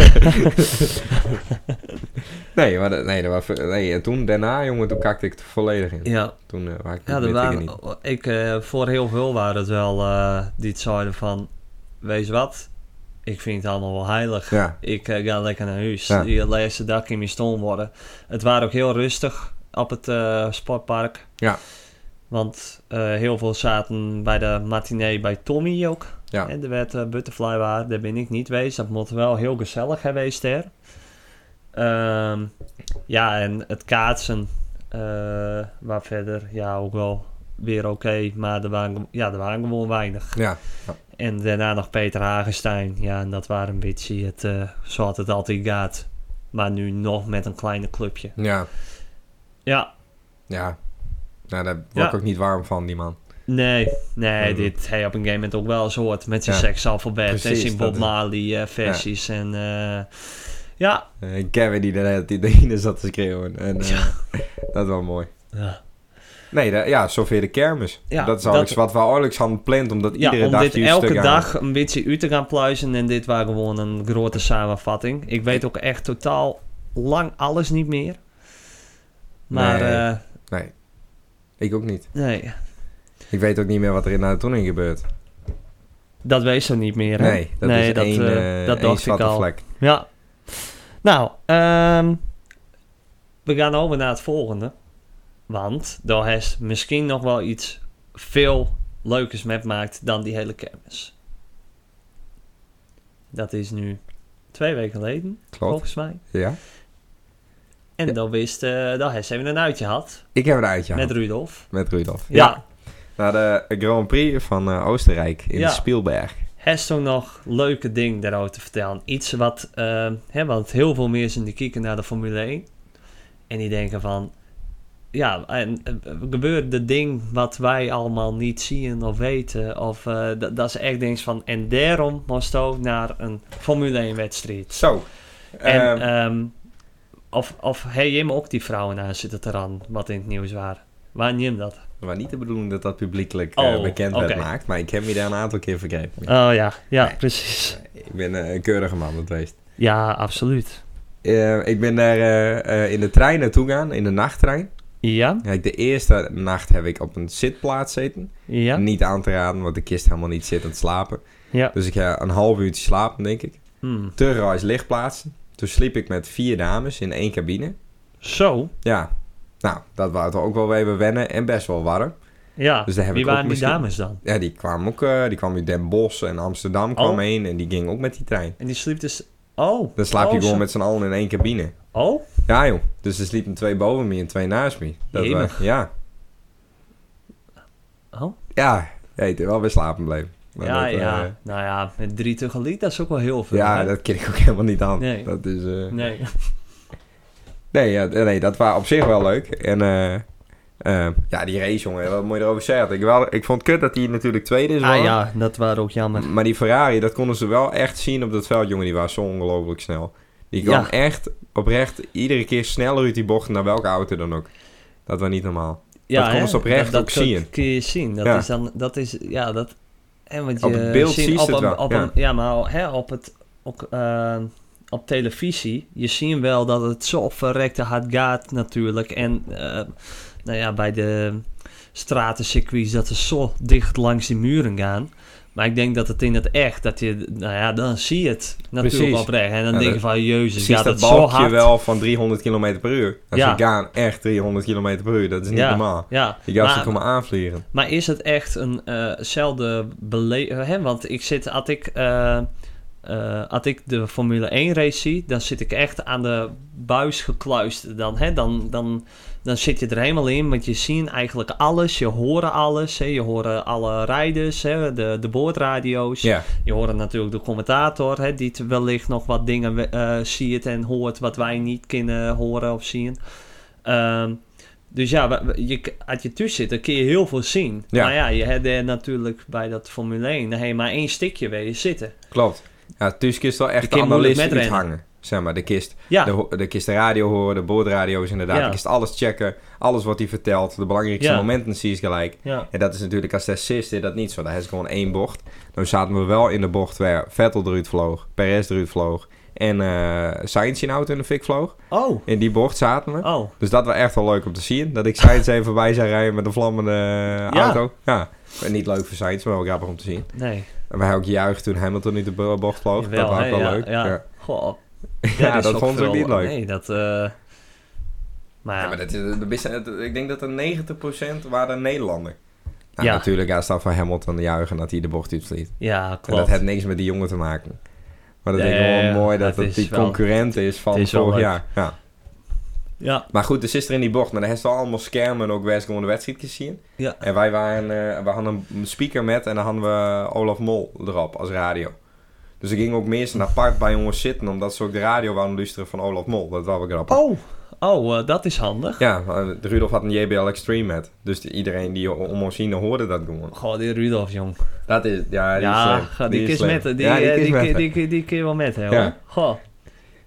Speaker 2: Nee, maar dat, nee, dat was, nee, en toen daarna, jongen, toen kakte ik het volledig in.
Speaker 1: ja,
Speaker 2: Toen eh waar ik
Speaker 1: ja
Speaker 2: het
Speaker 1: er
Speaker 2: weet ik er
Speaker 1: waren,
Speaker 2: niet.
Speaker 1: ik, eh, voor heel veel waren het wel eh, die het zeiden van, wees wat, ik vind het allemaal wel heilig.
Speaker 2: Ja,
Speaker 1: Ik eh, ga lekker naar huis.
Speaker 2: Ja.
Speaker 1: Die laatste dag in mijn stoel worden. Het waren ook heel rustig op het eh, sportpark.
Speaker 2: Ja.
Speaker 1: Want eh, heel veel zaten bij de matinee bij Tommy ook.
Speaker 2: ja.
Speaker 1: En er werd eh, Butterfly waar, daar ben ik niet geweest. Dat moet wel heel gezellig geweest er. Ehm, ja, en het kaatsen eh waar verder, ja, ook wel weer oké. maar er waren, ge- ja, er waren gewoon weinig.
Speaker 2: ja.
Speaker 1: En daarna nog Peter Hagenstein. Ja, en dat waren een beetje het, eh, zoals het altijd gaat. Maar nu nog met een kleine clubje.
Speaker 2: ja,
Speaker 1: Ja,
Speaker 2: ja. Nou, daar word
Speaker 1: Ja.
Speaker 2: ik ook niet warm van, die man.
Speaker 1: nee, nee,
Speaker 2: Mm.
Speaker 1: dit hij op een gegeven moment ook wel eens hoort. Met zijn
Speaker 2: Ja.
Speaker 1: seksalfabet en
Speaker 2: Precies,
Speaker 1: zijn Bob
Speaker 2: dat-
Speaker 1: Marley eh, versies. En eh, ja,
Speaker 2: Eh Kevin die daar die dingen zat te schreeuwen. En, eh, Dat was mooi.
Speaker 1: Ja,
Speaker 2: Nee, da- ja, zover de kermis.
Speaker 1: Ja,
Speaker 2: dat is eigenlijk wat we Orlix hadden gepland, omdat
Speaker 1: ja
Speaker 2: iedere
Speaker 1: om
Speaker 2: dag
Speaker 1: dit
Speaker 2: die
Speaker 1: elke
Speaker 2: stuk aan-
Speaker 1: dag een beetje u te gaan pluizen. En dit was gewoon een grote samenvatting. Ik weet ook echt totaal lang alles niet meer. Maar
Speaker 2: Nee.
Speaker 1: eh,
Speaker 2: Nee, ik ook niet.
Speaker 1: nee.
Speaker 2: Ik weet ook niet meer wat er in de toening gebeurt.
Speaker 1: Dat weet ze niet meer. Hè?
Speaker 2: Nee, dat is één,
Speaker 1: eh,
Speaker 2: eh,
Speaker 1: dat
Speaker 2: één
Speaker 1: dacht ik
Speaker 2: zwarte
Speaker 1: al.
Speaker 2: vlek.
Speaker 1: Ja. Nou, ehm, we gaan over naar het volgende. Want daar is misschien nog wel iets veel leukers met maakt dan die hele kermis. Dat is nu twee weken geleden,
Speaker 2: Klopt,
Speaker 1: volgens mij.
Speaker 2: ja.
Speaker 1: En
Speaker 2: Ja.
Speaker 1: dan wist eh dat hij even een uitje had
Speaker 2: Ik heb een uitje
Speaker 1: met
Speaker 2: gehad.
Speaker 1: Rudolf.
Speaker 2: Met Rudolf.
Speaker 1: Ja,
Speaker 2: Naar de Grand Prix van eh, Oostenrijk in
Speaker 1: Ja.
Speaker 2: Spielberg.
Speaker 1: Heeft zo nog leuke ding daarover te vertellen? Iets wat, eh, hè, want heel veel mensen die kijken naar de Formule 1 en die denken van, ja, en, eh, gebeurt de ding wat wij allemaal niet zien of weten? Of eh, dat, dat ze echt denken van, en daarom moest ook naar een Formule 1 wedstrijd.
Speaker 2: Zo.
Speaker 1: En,
Speaker 2: Ehm,
Speaker 1: ehm, of, of hey, Jim ook die vrouwen aan zitten te ran, wat in het nieuws waren. Waar neem dat?
Speaker 2: maar niet de bedoeling dat dat publiekelijk eh,
Speaker 1: Oh,
Speaker 2: bekend
Speaker 1: oké.
Speaker 2: werd gemaakt. Maar ik heb me daar een aantal keer vergrepen.
Speaker 1: Oh ja, ja,
Speaker 2: Nee.
Speaker 1: precies.
Speaker 2: Ik ben eh, een keurige man, dat wees.
Speaker 1: Ja, absoluut.
Speaker 2: Eh, ik ben daar eh, eh, in de trein naartoe gaan, in de nachttrein.
Speaker 1: Ja,
Speaker 2: Kijk, de eerste nacht heb ik op een zitplaats zitten.
Speaker 1: ja,
Speaker 2: Niet aan te raden, want ik kist helemaal niet zittend slapen.
Speaker 1: ja.
Speaker 2: Dus ik ga een half uurtje slapen, denk ik.
Speaker 1: Hmm.
Speaker 2: Terugreis lichtplaatsen. Toen sliep ik met vier dames in één cabine.
Speaker 1: Zo,
Speaker 2: Ja, nou, dat wou toch ook wel weer even wennen en best wel warm.
Speaker 1: ja.
Speaker 2: Dus daar heb
Speaker 1: Wie
Speaker 2: ik ook
Speaker 1: waren die
Speaker 2: misschien-
Speaker 1: dames dan?
Speaker 2: Ja, die kwamen ook, eh, die kwam uit Den Bosch en Amsterdam kwam
Speaker 1: Oh.
Speaker 2: heen en die ging ook met die trein.
Speaker 1: En die sliep dus... Oh.
Speaker 2: Dan slaap je
Speaker 1: oh,
Speaker 2: gewoon
Speaker 1: zo-
Speaker 2: met z'n allen in één cabine.
Speaker 1: Oh,
Speaker 2: Ja joh, dus er sliepen twee boven me en twee naast me. Dat
Speaker 1: Jemig.
Speaker 2: wa- ja,
Speaker 1: oh.
Speaker 2: ja, heet, wel weer slapen bleef. Maar
Speaker 1: ja,
Speaker 2: dat, eh,
Speaker 1: ja. nou ja, met drie tegelijk, dat is ook wel heel veel.
Speaker 2: ja,
Speaker 1: hè?
Speaker 2: dat ken ik ook helemaal niet aan.
Speaker 1: Nee.
Speaker 2: Dat is, eh,
Speaker 1: Nee.
Speaker 2: nee, ja, nee, dat was op zich wel leuk. En eh, eh, ja, die race jongen, wat moet je erover zeggen? Ik, wel, ik vond het kut dat hij natuurlijk tweede is
Speaker 1: Ah
Speaker 2: geworden.
Speaker 1: ja, dat waren ook jammer.
Speaker 2: Maar die Ferrari, dat konden ze wel echt zien op dat veld, jongen. Die was zo ongelooflijk snel. Die kwam
Speaker 1: Ja.
Speaker 2: echt oprecht iedere keer sneller uit die bocht naar welke auto dan ook. Dat was niet normaal.
Speaker 1: Ja,
Speaker 2: dat kon
Speaker 1: hè?
Speaker 2: ze oprecht
Speaker 1: dat, dat
Speaker 2: ook zien.
Speaker 1: kun je zien. Dat
Speaker 2: Ja.
Speaker 1: is dan... Dat is... Ja, dat... En want
Speaker 2: Op
Speaker 1: je
Speaker 2: het beeld
Speaker 1: ziet
Speaker 2: zie je
Speaker 1: op
Speaker 2: het
Speaker 1: een,
Speaker 2: wel,
Speaker 1: Op
Speaker 2: ja.
Speaker 1: Een, ja, maar hè, op het... Ook, eh, op televisie, je ziet wel dat het zo verrekte hard gaat natuurlijk. En eh, nou ja, bij de stratencircuits dat ze zo dicht langs die muren gaan. Maar ik denk dat het in het echt, dat je, nou ja, dan zie je het natuurlijk
Speaker 2: Precies.
Speaker 1: oprecht. En dan
Speaker 2: Ja,
Speaker 1: denk je
Speaker 2: dat-
Speaker 1: van, jezus,
Speaker 2: Precies
Speaker 1: gaat
Speaker 2: dat
Speaker 1: het zo
Speaker 2: balkje
Speaker 1: hard.
Speaker 2: wel van 300 km per uur. Dat
Speaker 1: Ja.
Speaker 2: ze gaan echt 300 km per uur. Dat is niet
Speaker 1: Ja.
Speaker 2: normaal.
Speaker 1: Ja,
Speaker 2: Die gasten
Speaker 1: maar-
Speaker 2: komen aanvliegen.
Speaker 1: Maar is het echt eh, eenzelfde beleving? Want ik zit, als ik, eh, eh, als ik de Formule 1 race zie, dan zit ik echt aan de buis gekluisterd. Dan, hè? Dan, dan, dan zit je er helemaal in, want je ziet eigenlijk alles, je hoort alles. Hè? Je hoort alle rijders, hè? De, de boordradio's.
Speaker 2: Ja,
Speaker 1: Je hoort natuurlijk de commentator, hè? die wellicht nog wat dingen we- eh, ziet en hoort wat wij niet kunnen horen of zien. Ehm, dus ja, wa- wa- je, k- als je tussen zit, dan kun je heel veel zien.
Speaker 2: Ja.
Speaker 1: Maar ja, je hebt er natuurlijk bij dat Formule 1 dan heb je maar één stukje waar je zitten.
Speaker 2: klopt. Ja, Tusk is wel echt
Speaker 1: Ik
Speaker 2: de
Speaker 1: kan moeilijk
Speaker 2: analist
Speaker 1: metrennen.
Speaker 2: uithangen. Zeg maar, de kist.
Speaker 1: Ja,
Speaker 2: De, ho- de kist de radio horen, de boordradio's inderdaad.
Speaker 1: Ja.
Speaker 2: De kist alles checken. Alles wat hij vertelt. De belangrijkste
Speaker 1: Ja.
Speaker 2: momenten zie je gelijk.
Speaker 1: ja,
Speaker 2: En dat is natuurlijk als Tessis deed dat niet zo. Daar is gewoon één bocht. Dan zaten we wel in de bocht waar Vettel eruit vloog, Perez eruit vloog en eh Sainz in auto in de fik vloog.
Speaker 1: Oh,
Speaker 2: In die bocht zaten we.
Speaker 1: oh,
Speaker 2: Dus dat was echt wel leuk om te zien. Dat ik Sainz even voorbij zou rijden met een vlammende eh,
Speaker 1: Ja.
Speaker 2: auto. Ja. Niet leuk voor Sainz, maar wel grappig om te zien.
Speaker 1: nee.
Speaker 2: En wij ook juichen toen Hamilton niet de bo- bocht vloog. Oh, dat was
Speaker 1: hè,
Speaker 2: ook wel
Speaker 1: ja,
Speaker 2: leuk.
Speaker 1: Ja,
Speaker 2: Ja.
Speaker 1: Goh,
Speaker 2: Ja,
Speaker 1: is
Speaker 2: dat
Speaker 1: ook
Speaker 2: vond ik
Speaker 1: veel-
Speaker 2: niet leuk.
Speaker 1: Nee, dat... eh, maar,
Speaker 2: Ja, maar dat is, dat is- dat- ik denk dat er 90% waren Nederlander. Nou,
Speaker 1: Ja.
Speaker 2: Natuurlijk, hij staat van Hamilton juichen dat hij de bocht uitvliet.
Speaker 1: ja, klopt.
Speaker 2: En dat heeft niks met die jongen te maken. Maar dat vind ik
Speaker 1: Nee,
Speaker 2: wel mooi dat
Speaker 1: het
Speaker 2: het,
Speaker 1: is
Speaker 2: die
Speaker 1: wel-
Speaker 2: concurrent is van
Speaker 1: het is wel
Speaker 2: vorig
Speaker 1: leuk.
Speaker 2: jaar. Ja.
Speaker 1: Ja,
Speaker 2: Maar goed, dus is er in die bocht. Maar dan heeft ze allemaal schermen en ook best gewoon de wedstrijd gezien.
Speaker 1: ja,
Speaker 2: En wij waren, eh, we hadden een speaker met en dan hadden we Olaf Mol erop als radio. Dus ik ging ook meestal apart bij jongens zitten, omdat ze ook de radio wouden luisteren van Olaf Mol. Dat was wel grappig.
Speaker 1: Oh, oh eh, dat is handig.
Speaker 2: Ja, eh, Rudolf had een JBL Extreme met. Dus die- iedereen die om ons heen hoorde dat gewoon.
Speaker 1: Goh, die Rudolf, jong.
Speaker 2: Dat is, ja, die is
Speaker 1: ja,
Speaker 2: slim.
Speaker 1: ga- die,
Speaker 2: is
Speaker 1: kist
Speaker 2: slim.
Speaker 1: met, die,
Speaker 2: Ja,
Speaker 1: eh,
Speaker 2: kist
Speaker 1: die,
Speaker 2: met.
Speaker 1: die, die, die, kun je wel met, hè,
Speaker 2: Ja.
Speaker 1: hoor. Goh,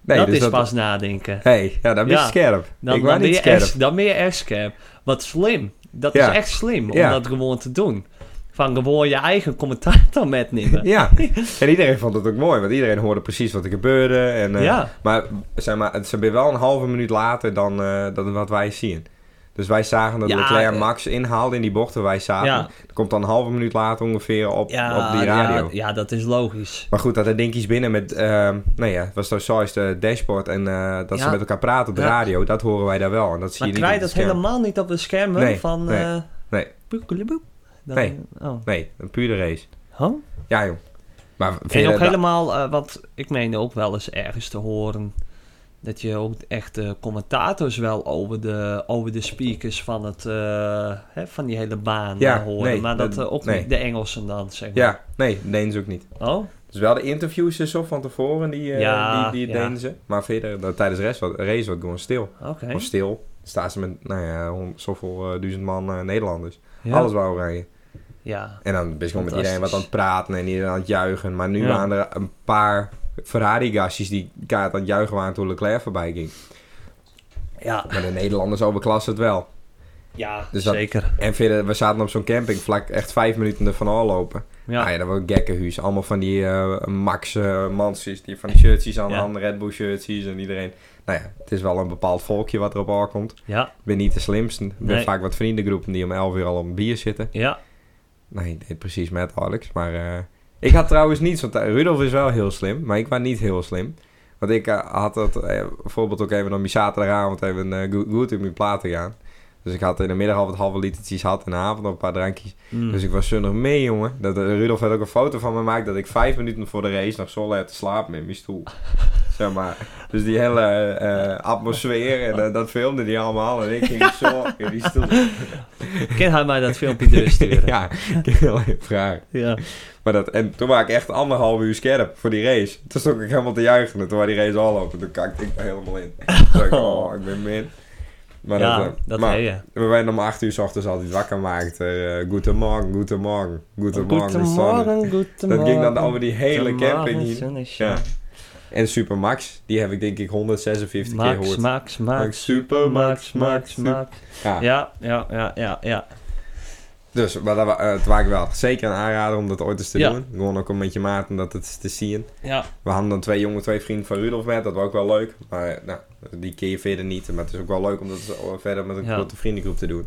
Speaker 2: Nee,
Speaker 1: dat
Speaker 2: dus
Speaker 1: is pas nadenken.
Speaker 2: hey, ja, dan ben je
Speaker 1: Ja.
Speaker 2: scherp.
Speaker 1: Dan,
Speaker 2: ik
Speaker 1: dan,
Speaker 2: was
Speaker 1: ben
Speaker 2: niet
Speaker 1: je
Speaker 2: scherp.
Speaker 1: echt, dan ben je echt scherp. Wat slim. Dat
Speaker 2: Ja.
Speaker 1: is echt slim om
Speaker 2: Ja.
Speaker 1: dat gewoon te doen. Van gewoon je eigen commentator metnemen.
Speaker 2: Ja, en iedereen vond het ook mooi, want iedereen hoorde precies wat er gebeurde. En, eh,
Speaker 1: Ja.
Speaker 2: Maar, zeg maar, het- ze zijn wel een halve minuut later dan eh, dan wat wij zien. Dus wij zagen dat
Speaker 1: Ja,
Speaker 2: Leclerc
Speaker 1: eh.
Speaker 2: Max inhaalde in die bocht waar wij zaten.
Speaker 1: Ja.
Speaker 2: Dat komt dan een halve minuut later ongeveer op,
Speaker 1: Ja,
Speaker 2: op die radio.
Speaker 1: Ja, ja, dat is logisch.
Speaker 2: Maar goed, dat er dinkies binnen met... ehm nou ja, het was toch Sainz de dashboard en eh, dat
Speaker 1: Ja.
Speaker 2: ze met elkaar praten op de
Speaker 1: Ja.
Speaker 2: radio. Dat horen wij daar wel. En dat zie
Speaker 1: Maar
Speaker 2: je
Speaker 1: krijg je
Speaker 2: niet op
Speaker 1: dat
Speaker 2: het scherm.
Speaker 1: helemaal niet op de schermen
Speaker 2: Nee,
Speaker 1: van...
Speaker 2: nee,
Speaker 1: eh,
Speaker 2: nee.
Speaker 1: boekelieboep? Dan-
Speaker 2: Nee.
Speaker 1: Oh.
Speaker 2: Nee, een pure race.
Speaker 1: Huh?
Speaker 2: Ja, joh. Maar vind je
Speaker 1: En ook
Speaker 2: dat-
Speaker 1: helemaal, eh, want ik meende ook wel eens ergens te horen... dat je ook echt de commentators wel over de, over de speakers van, het, eh, hè, van die hele baan
Speaker 2: Ja,
Speaker 1: eh, horen.
Speaker 2: nee,
Speaker 1: maar dat
Speaker 2: dat-
Speaker 1: eh, ook
Speaker 2: nee.
Speaker 1: niet de Engelsen dan, zeg maar.
Speaker 2: Ja, nee, deden ze ook niet.
Speaker 1: Oh?
Speaker 2: Dus wel de interviews en zo van tevoren, die, eh,
Speaker 1: Ja,
Speaker 2: die, die
Speaker 1: ja.
Speaker 2: deden ze. Maar verder, dat, tijdens de rest wat, race wordt gewoon stil.
Speaker 1: Oké.
Speaker 2: Of stil. Staan ze met, nou ja, hond- zoveel eh, duizend man eh, Nederlanders.
Speaker 1: Ja.
Speaker 2: Alles wou oranje.
Speaker 1: Ja.
Speaker 2: En dan ben je gewoon met iedereen wat
Speaker 1: Fantastisch.
Speaker 2: aan het praten en iedereen aan het juichen. Maar nu
Speaker 1: Ja.
Speaker 2: waren er een paar Ferrari-gastjes die kaart aan het juichen waren toen Leclerc voorbij ging.
Speaker 1: Ja,
Speaker 2: Maar de Nederlanders overklassen het wel.
Speaker 1: ja
Speaker 2: Dus dat-
Speaker 1: zeker.
Speaker 2: En verder, we zaten op zo'n camping, vlak echt vijf minuten ervan al lopen.
Speaker 1: Ja.
Speaker 2: Nou ja, dat was een gekkenhuis. Allemaal van die eh, Max eh Mansjes, die van die shirtjes aan de
Speaker 1: Ja.
Speaker 2: hand, Red Bull shirtjes en iedereen. Nou ja, het is wel een bepaald volkje wat erop aankomt.
Speaker 1: ja,
Speaker 2: Ik ben niet de slimste. Ik ben
Speaker 1: Nee.
Speaker 2: vaak wat vriendengroepen die om 11 uur al op een bier zitten.
Speaker 1: ja.
Speaker 2: Nee, ik deed precies met Alex. Maar eh, ik had trouwens niets, want eh, Rudolf is wel heel slim, maar ik was niet heel slim. Want ik eh, had dat eh, bijvoorbeeld ook even op mijn zaterdagavond even eh goed- goed in mijn plaat gaan. Dus ik had in de middag al wat halve litertjes had en de avond nog een paar drankjes.
Speaker 1: Mm.
Speaker 2: Dus ik was zonnig mee, jongen. Dat, eh, Rudolf had ook een foto van me gemaakt dat ik vijf minuten voor de race nog zo heb te slapen in mijn stoel. zeg maar. Dus die hele eh, atmosfeer, en, eh, dat filmde die allemaal. En ik ging zo in die stoel.
Speaker 1: Kan hij mij dat filmpje doorsturen?
Speaker 2: ja, ik heb wel een vraag.
Speaker 1: ja.
Speaker 2: Maar dat, en toen was ik echt anderhalf uur scherp voor die race. Toen stond ik helemaal te juichen. En toen was die race al open. Toen kakte ik er helemaal in. Toen dacht ik, oh, ik ben min. Maar
Speaker 1: ja,
Speaker 2: dat, eh,
Speaker 1: dat
Speaker 2: maar
Speaker 1: deed je.
Speaker 2: we werden om acht uur s ochtends altijd wakker gemaakt. eh goedemorgen, goedemorgen, goedemorgen. Sonne. dus Dat ging dan over die hele camping hier. Ja. En Super Max, die heb ik denk ik 156 keer
Speaker 1: Max,
Speaker 2: gehoord.
Speaker 1: Max, Max.
Speaker 2: Super
Speaker 1: Max, Max,
Speaker 2: Super-
Speaker 1: Max.
Speaker 2: Ja.
Speaker 1: Ja, ja, ja, ja, ja.
Speaker 2: Dus, maar dat, wa- eh, het was ik wel zeker een aanrader om dat ooit eens te
Speaker 1: Ja.
Speaker 2: doen. Gewoon ook om met je maat om dat eens te zien.
Speaker 1: Ja,
Speaker 2: We hadden dan twee jonge, twee vrienden van Rudolf met. Dat was ook wel leuk. Maar nou, die keer verder niet. Maar het is ook wel leuk om dat zo eh, verder met een
Speaker 1: Ja.
Speaker 2: grote vriendengroep te doen.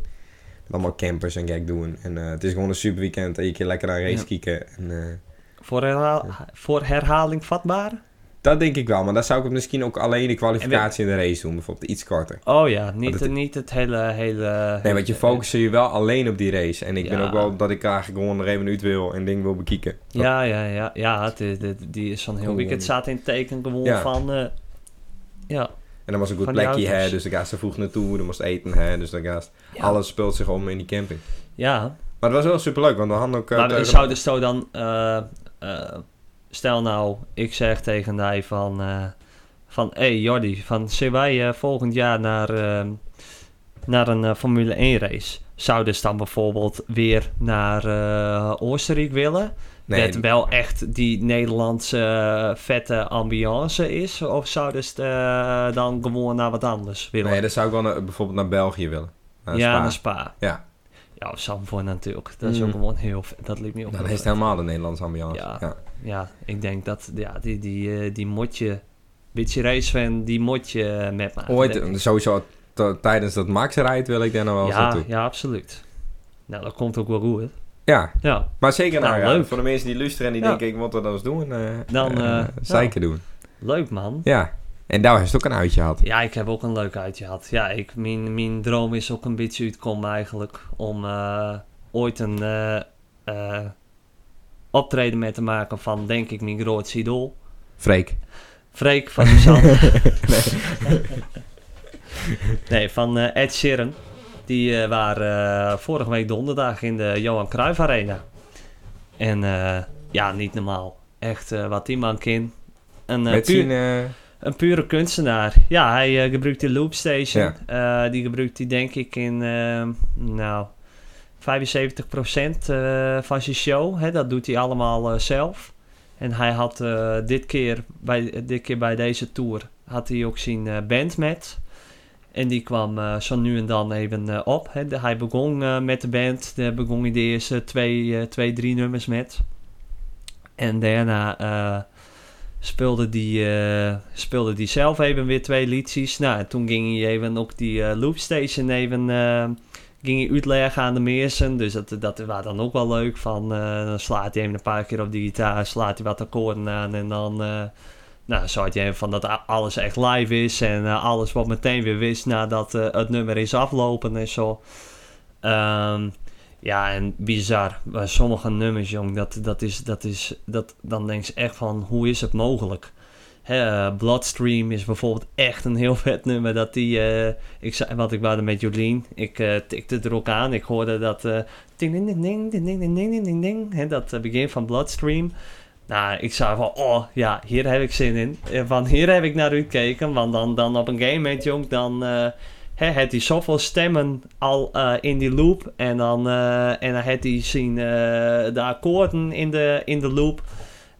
Speaker 2: Met allemaal campers en gek doen. En eh, het is gewoon een super weekend. En je keer lekker naar race
Speaker 1: Ja.
Speaker 2: kieken. En, eh,
Speaker 1: voor, herhaal- voor herhaling vatbaar?
Speaker 2: dat denk ik wel. Maar dat zou ik misschien ook alleen de kwalificatie en de race doen. Bijvoorbeeld iets korter.
Speaker 1: Oh ja, niet,
Speaker 2: Want het-
Speaker 1: niet het hele... hele eh,
Speaker 2: Nee, want je focust je wel alleen op die race. En ik ben
Speaker 1: Ja.
Speaker 2: ook wel dat ik eigenlijk gewoon er even uit wil en ding wil bekieken. Dat-
Speaker 1: eh, Ja, ja, ja. Ja, het, is- dit- die is van heel
Speaker 2: Cool.
Speaker 1: weekend staat in het teken gewoon
Speaker 2: Ja.
Speaker 1: van... eh, ja.
Speaker 2: En dan was een goed
Speaker 1: Van die
Speaker 2: plekje, hè,
Speaker 1: auto's.
Speaker 2: dus dan ga ze vroeg naartoe, dan moest eten, hè, dus dan gaat
Speaker 1: Ja.
Speaker 2: alles speelt zich om in die camping.
Speaker 1: Ja,
Speaker 2: Maar het was wel superleuk, want we hadden ook... eh,
Speaker 1: maar
Speaker 2: tegen-
Speaker 1: zou dus zo dan... eh, eh, stel nou, ik zeg tegen hij van... eh, van, hé hey Jordi, van, zullen wij eh, volgend jaar naar, eh, naar een eh, Formule 1 race? Zou dus dan bijvoorbeeld weer naar eh Oostenrijk willen?
Speaker 2: Nee,
Speaker 1: dat wel echt die Nederlandse eh, vette ambiance is? Of zou dus eh, dan gewoon naar wat anders willen?
Speaker 2: Nee, dat zou ik wel naar- bijvoorbeeld naar België willen. Naar
Speaker 1: ja,
Speaker 2: Spa.
Speaker 1: naar Spa.
Speaker 2: Ja.
Speaker 1: Ja, of Zandvoort natuurlijk. Dat is
Speaker 2: Mm.
Speaker 1: ook gewoon heel vet. Dat liep me op.
Speaker 2: Dan is het helemaal de Nederlandse ambiance.
Speaker 1: Ja.
Speaker 2: Ja.
Speaker 1: Ja, ik denk dat ja, die, die, eh, die motje... Beetje racefan, die motje eh, met maken.
Speaker 2: Ooit,
Speaker 1: denk ik.
Speaker 2: sowieso t- tijdens dat Max rijdt, wil ik daar nou wel eens
Speaker 1: Ja,
Speaker 2: naartoe.
Speaker 1: ja, absoluut. Nou, dat komt ook wel goed.
Speaker 2: Ja,
Speaker 1: Ja,
Speaker 2: maar zeker
Speaker 1: Nou,
Speaker 2: naar aanrader.
Speaker 1: leuk.
Speaker 2: Voor de mensen die luisteren en die
Speaker 1: Ja.
Speaker 2: denken, ik moet dat eens doen. eh,
Speaker 1: Dan,
Speaker 2: eh,
Speaker 1: eh,
Speaker 2: zeker doen.
Speaker 1: leuk man.
Speaker 2: Ja, en daar is het ook een uitje gehad.
Speaker 1: Ja, ik heb ook een leuk uitje gehad. Ja, ik, mijn, mijn droom is ook een beetje uitkomen eigenlijk. Om eh, ooit een eh, eh, optreden mee te maken van, denk ik, mijn grootste idool.
Speaker 2: Freek.
Speaker 1: Freek van Luzanne. nee. nee, van eh, Ed Sheeran. Die eh, waren eh, vorige week donderdag in de Johan Cruijff Arena. En eh, ja, niet normaal. Echt eh, wat die man kan. Een, eh,
Speaker 2: Met
Speaker 1: puur-
Speaker 2: zien... eh,
Speaker 1: een pure kunstenaar. Ja, hij eh, gebruikt die Loopstation. Eh, die gebruikt hij denk ik in, ehm, nou, 75% eh, van zijn show. Hè, dat doet hij allemaal eh, zelf. En hij had eh, dit, keer bij, dit keer bij deze tour, had hij ook zijn eh, band met. En die kwam eh, zo nu en dan even eh, op. Hè. De- hij begon eh, met de band. Daar begon hij de eerste twee, eh, twee, drie nummers met. En daarna eh, speelde die, eh, speelde die zelf even weer twee liedjes. Nou, en toen ging hij even op die eh, loopstation even... eh, ging hij uitleggen aan de meersen. Dus dat, dat was dan ook wel leuk. Van, eh, dan slaat hij even een paar keer op die gitaar. Slaat hij wat akkoorden aan. En dan... eh nou, zo had je even van dat a- alles echt live is. En eh, alles wat meteen weer wist nadat eh, het nummer is aflopen en zo. Ehm, ja, en bizar. Bij sommige nummers, jong, dat, dat is, dat is, dat, dan denk je echt van, hoe is het mogelijk? Hè, eh, Bloodstream is bijvoorbeeld echt een heel vet nummer. Dat die, eh, ik zei, want ik was er met Jolien, ik eh, tikte er ook aan. Ik hoorde dat, eh, ding, ding, ding, ding, ding, ding, ding, ding, ding, ding, hè, dat eh, begin van Bloodstream. Nou, ik zei van, oh ja, hier heb ik zin in. Eh, Van hier heb ik naar u gekeken, want dan, dan op een game moment, jong, dan eh hè, had hij zoveel stemmen al eh, in die loop. En dan, eh, en dan had hij zien eh, de akkoorden in de, in de loop.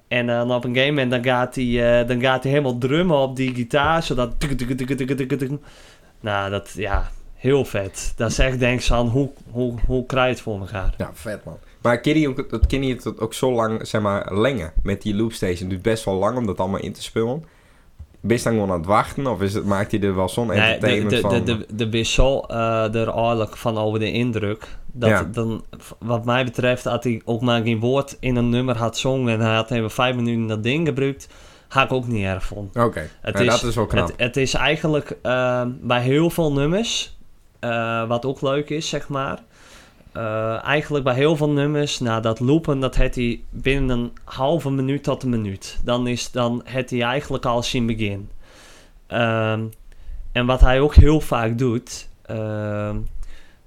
Speaker 1: En dan op een game moment, dan gaat hij, eh, dan gaat hij helemaal drummen op die gitaar, zodat... tuk, tuk, tuk, tuk, tuk, tuk, tuk. Nou, dat, ja, heel vet. Dat is echt, denk ik, van, hoe, hoe, hoe krijg je het voor elkaar?
Speaker 2: Ja, nou, vet man. Maar Kenny, ook, dat Kenny het ook- ook zo lang, zeg maar, lengen met die loopstation. Duurt best wel lang om dat allemaal in te spullen. Ben je dan gewoon aan het wachten? Of is het, maakt hij er wel zo'n
Speaker 1: Nee, de,
Speaker 2: entertainment
Speaker 1: de, de,
Speaker 2: van?
Speaker 1: de, de wissel eh er eigenlijk van over de indruk. Dat
Speaker 2: Ja.
Speaker 1: dan, wat mij betreft, had hij ook maar geen woord in een nummer had zongen en hij had even vijf minuten dat ding gebruikt, had ik ook niet erg van.
Speaker 2: Oké,
Speaker 1: Het
Speaker 2: nou,
Speaker 1: is-
Speaker 2: dat is wel knap.
Speaker 1: Het, het is eigenlijk eh, bij heel veel nummers, eh, wat ook leuk is, zeg maar. eh, eigenlijk bij heel veel nummers, na dat loopen, dat heeft hij binnen een halve minuut tot een minuut. Dan, is, dan heeft hij eigenlijk al zijn begin. Ehm, en wat hij ook heel vaak doet, ehm,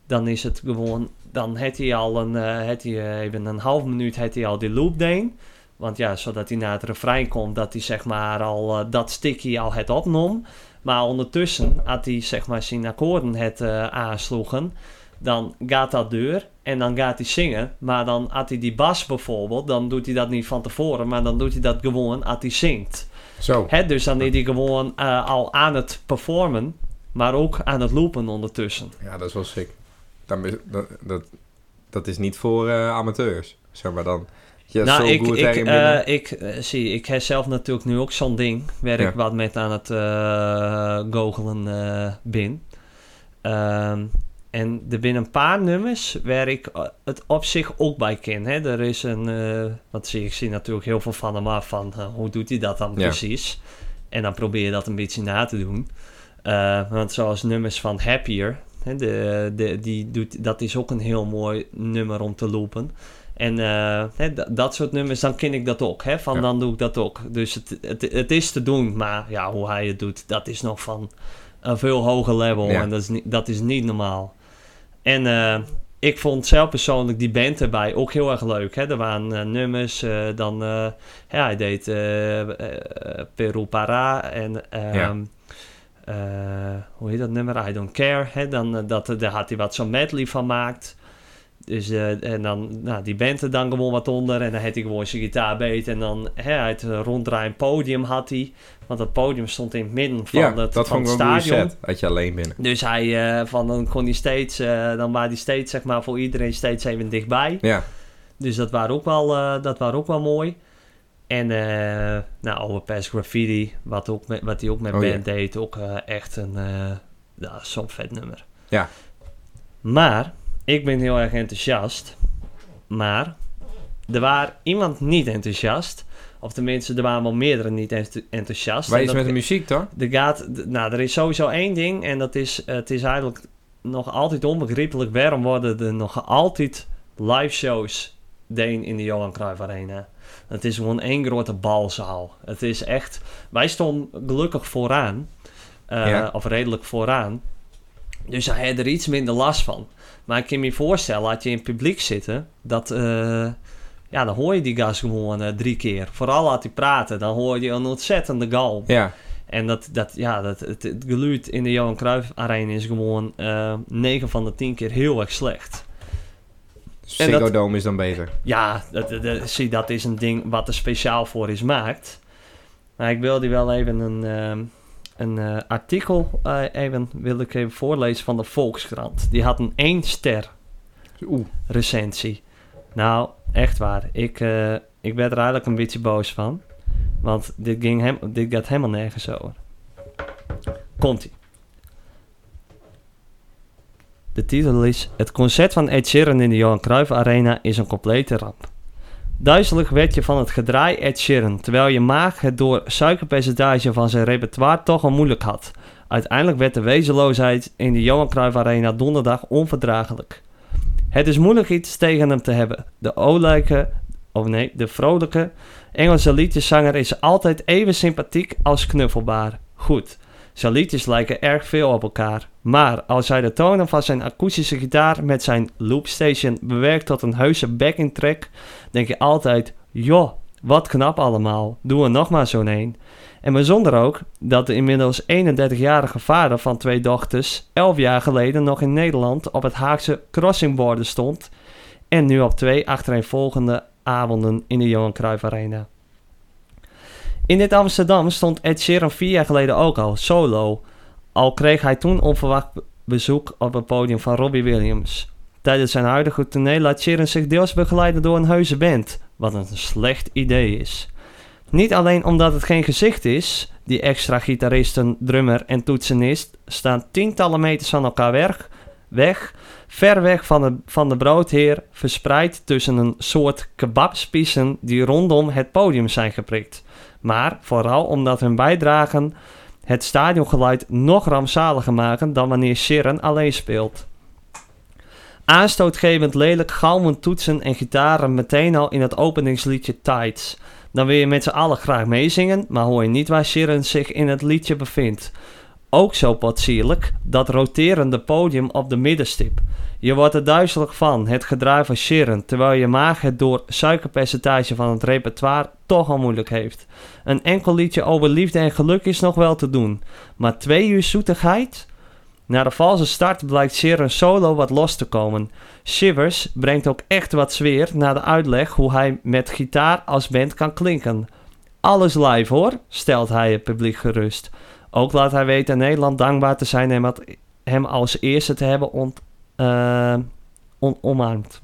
Speaker 1: dan is het gewoon, dan heeft hij al een, eh, heeft hij even een half minuut, heeft hij al die loop deen. Want ja, zodat hij naar het refrein komt, dat hij zeg maar al eh, dat stikkie al het opnam. Maar ondertussen had hij zeg maar zijn akkoorden het eh, aansloegen. Dan gaat dat deur en dan gaat hij zingen. Maar dan had hij die bas bijvoorbeeld, dan doet hij dat niet van tevoren. Maar dan doet hij dat gewoon als hij zingt.
Speaker 2: Zo.
Speaker 1: Hè, dus dan is hij gewoon eh, al aan het performen, maar ook aan het loopen ondertussen.
Speaker 2: Ja, dat is wel sick. Dan, is- dat, dat, dat is niet voor eh, amateurs, zeg maar dan. Je hebt
Speaker 1: nou,
Speaker 2: zo
Speaker 1: ik,
Speaker 2: goed
Speaker 1: ik,
Speaker 2: tegen
Speaker 1: eh,
Speaker 2: binnen.
Speaker 1: ik eh, zie, ik heb zelf natuurlijk nu ook zo'n ding waar
Speaker 2: Ja.
Speaker 1: ik wat met aan het eh goochelen, eh, ben. Ehm, en er zijn een paar nummers waar ik eh, het op zich ook bij ken. Hè. Er is een, eh, wat zie ik, zie natuurlijk heel veel van hem af van eh, hoe doet hij dat dan
Speaker 2: Ja.
Speaker 1: precies? En dan probeer je dat een beetje na te doen. Eh, want zoals nummers van Happier, hè, de, de, die doet, dat is ook een heel mooi nummer om te lopen. En eh, hè, d- dat soort nummers, dan ken ik dat ook. Hè? Van
Speaker 2: Ja.
Speaker 1: dan doe ik dat ook. Dus het, het, het is te doen, maar ja, hoe hij het doet, dat is nog van een veel hoger level.
Speaker 2: Ja.
Speaker 1: En dat is, niet, dat is niet normaal. En eh, ik vond zelf persoonlijk die band erbij ook heel erg leuk. Hè? Er waren eh, nummers, eh, dan... eh, ja, hij deed eh, eh, eh, Peru Para en... ehm,
Speaker 2: Ja.
Speaker 1: eh, hoe heet dat nummer? I Don't Care. Hè? Dan, eh, dat, daar had hij wat zo'n medley van maakt. Dus, eh, en dan, nou, die band er dan gewoon wat onder. En dan had hij gewoon zijn gitaar beet. En dan, hè, het ronddraaiend podium had hij. Want dat podium stond in het midden van
Speaker 2: ja,
Speaker 1: het,
Speaker 2: dat
Speaker 1: van het
Speaker 2: vond ik wel een goede
Speaker 1: stadion.
Speaker 2: set. Dat je alleen binnen.
Speaker 1: Dus hij, eh, van, dan kon hij steeds, eh, dan waren die steeds, zeg maar, voor iedereen steeds even dichtbij.
Speaker 2: Ja,
Speaker 1: Dus dat waren ook wel, eh, dat waren ook wel mooi. En, eh nou, over Pass Graffiti, wat, ook met, wat hij ook met
Speaker 2: Oh, ja.
Speaker 1: band deed, ook eh, echt een, eh ja, zo'n vet nummer.
Speaker 2: Ja.
Speaker 1: Maar, ik ben heel erg enthousiast. Maar, er was iemand niet enthousiast. Of tenminste, er waren wel meerdere niet enth- enthousiast.
Speaker 2: wij
Speaker 1: En
Speaker 2: is
Speaker 1: dat-
Speaker 2: met de muziek, toch?
Speaker 1: er gaat, d- nou, er is sowieso één ding en dat is, eh, het is eigenlijk nog altijd onbegrijpelijk waarom worden er nog altijd live shows deen in de Johan Cruijff Arena. Het is gewoon één grote balzaal. Het is echt, wij stonden gelukkig vooraan, eh,
Speaker 2: Ja.
Speaker 1: of redelijk vooraan, dus hij had er iets minder last van. Maar ik kan me voorstellen, als je in het publiek zitten, dat, eh, ja, dan hoor je die gast gewoon eh, drie keer. Vooral als hij praten, dan hoor je een ontzettende galm.
Speaker 2: Ja,
Speaker 1: En dat, dat, ja, dat, het, het geluid in de Johan Cruijff Arena is gewoon eh 9 van de 10 keer heel erg slecht. En
Speaker 2: Ziggo
Speaker 1: dat-
Speaker 2: Dome is dan beter.
Speaker 1: Ja, dat, dat- dat- zie, dat is een ding wat er speciaal voor is maakt. Maar ik wilde wel even een, ehm, een eh, artikel eh, even, wil ik even voorlezen van de Volkskrant. Die had een 1 ster
Speaker 2: Oeh,
Speaker 1: recensie. Nou, echt waar. Ik, eh, ik werd er eigenlijk een beetje boos van. Want dit, ging hem, dit gaat helemaal nergens over. Komt-ie. De titel is Het concert van Ed Sheeran in de Johan Cruijff Arena is een complete ramp. Duizelig werd je van het gedraai Ed Sheeran, terwijl je maag het door suikerpercentage van zijn repertoire toch al moeilijk had. Uiteindelijk werd de wezenloosheid in de Johan Cruijff Arena donderdag onverdraaglijk. Het is moeilijk iets tegen hem te hebben. De olijke, of nee, de vrolijke Engelse liedjeszanger is altijd even sympathiek als knuffelbaar. Goed, zijn liedjes lijken erg veel op elkaar. Maar als hij de tonen van zijn akoestische gitaar met zijn loopstation bewerkt tot een heuse backing track, denk je altijd, joh, wat knap allemaal, doe er nog maar zo'n een. En bijzonder ook dat de inmiddels 31-jarige vader van twee dochters 11 jaar geleden nog in Nederland op het Haagse crossingborden stond en nu op twee achtereenvolgende avonden in de Johan Cruijff Arena. In dit Amsterdam stond Ed Sheeran vier jaar geleden ook al, solo. Al kreeg hij toen onverwacht be- bezoek op het podium van Robbie Williams. Tijdens zijn huidige tournee laat Sheeran zich deels begeleiden door een heuse band, wat een slecht idee is. Niet alleen omdat het geen gezicht is, die extra gitaristen, drummer en toetsenist staan tientallen meters van elkaar weg, weg ver weg van de, van de broodheer, verspreid tussen een soort kebabspiezen die rondom het podium zijn geprikt. Maar vooral omdat hun bijdragen het stadiongeluid nog rampzaliger maken dan wanneer Sharon alleen speelt. Aanstootgevend lelijk galmen toetsen en gitaren meteen al in het openingsliedje Tides. Dan wil je met z'n allen graag meezingen, maar hoor je niet waar Sharon zich in het liedje bevindt. Ook zo potsierlijk, dat roterende podium op de middenstip. Je wordt er duizelig van, het gedraai van Sharon, terwijl je maag het door suikerpercentage van het repertoire toch al moeilijk heeft. Een enkel liedje over liefde en geluk is nog wel te doen, maar twee uur zoetigheid? Na de valse start blijkt Sharon solo wat los te komen. Shivers brengt ook echt wat sfeer na de uitleg hoe hij met gitaar als band kan klinken. Alles live hoor, stelt hij het publiek gerust. Ook laat hij weten aan Nederland dankbaar te zijn en wat- hem als eerste te hebben ont, eh, on- omarmd.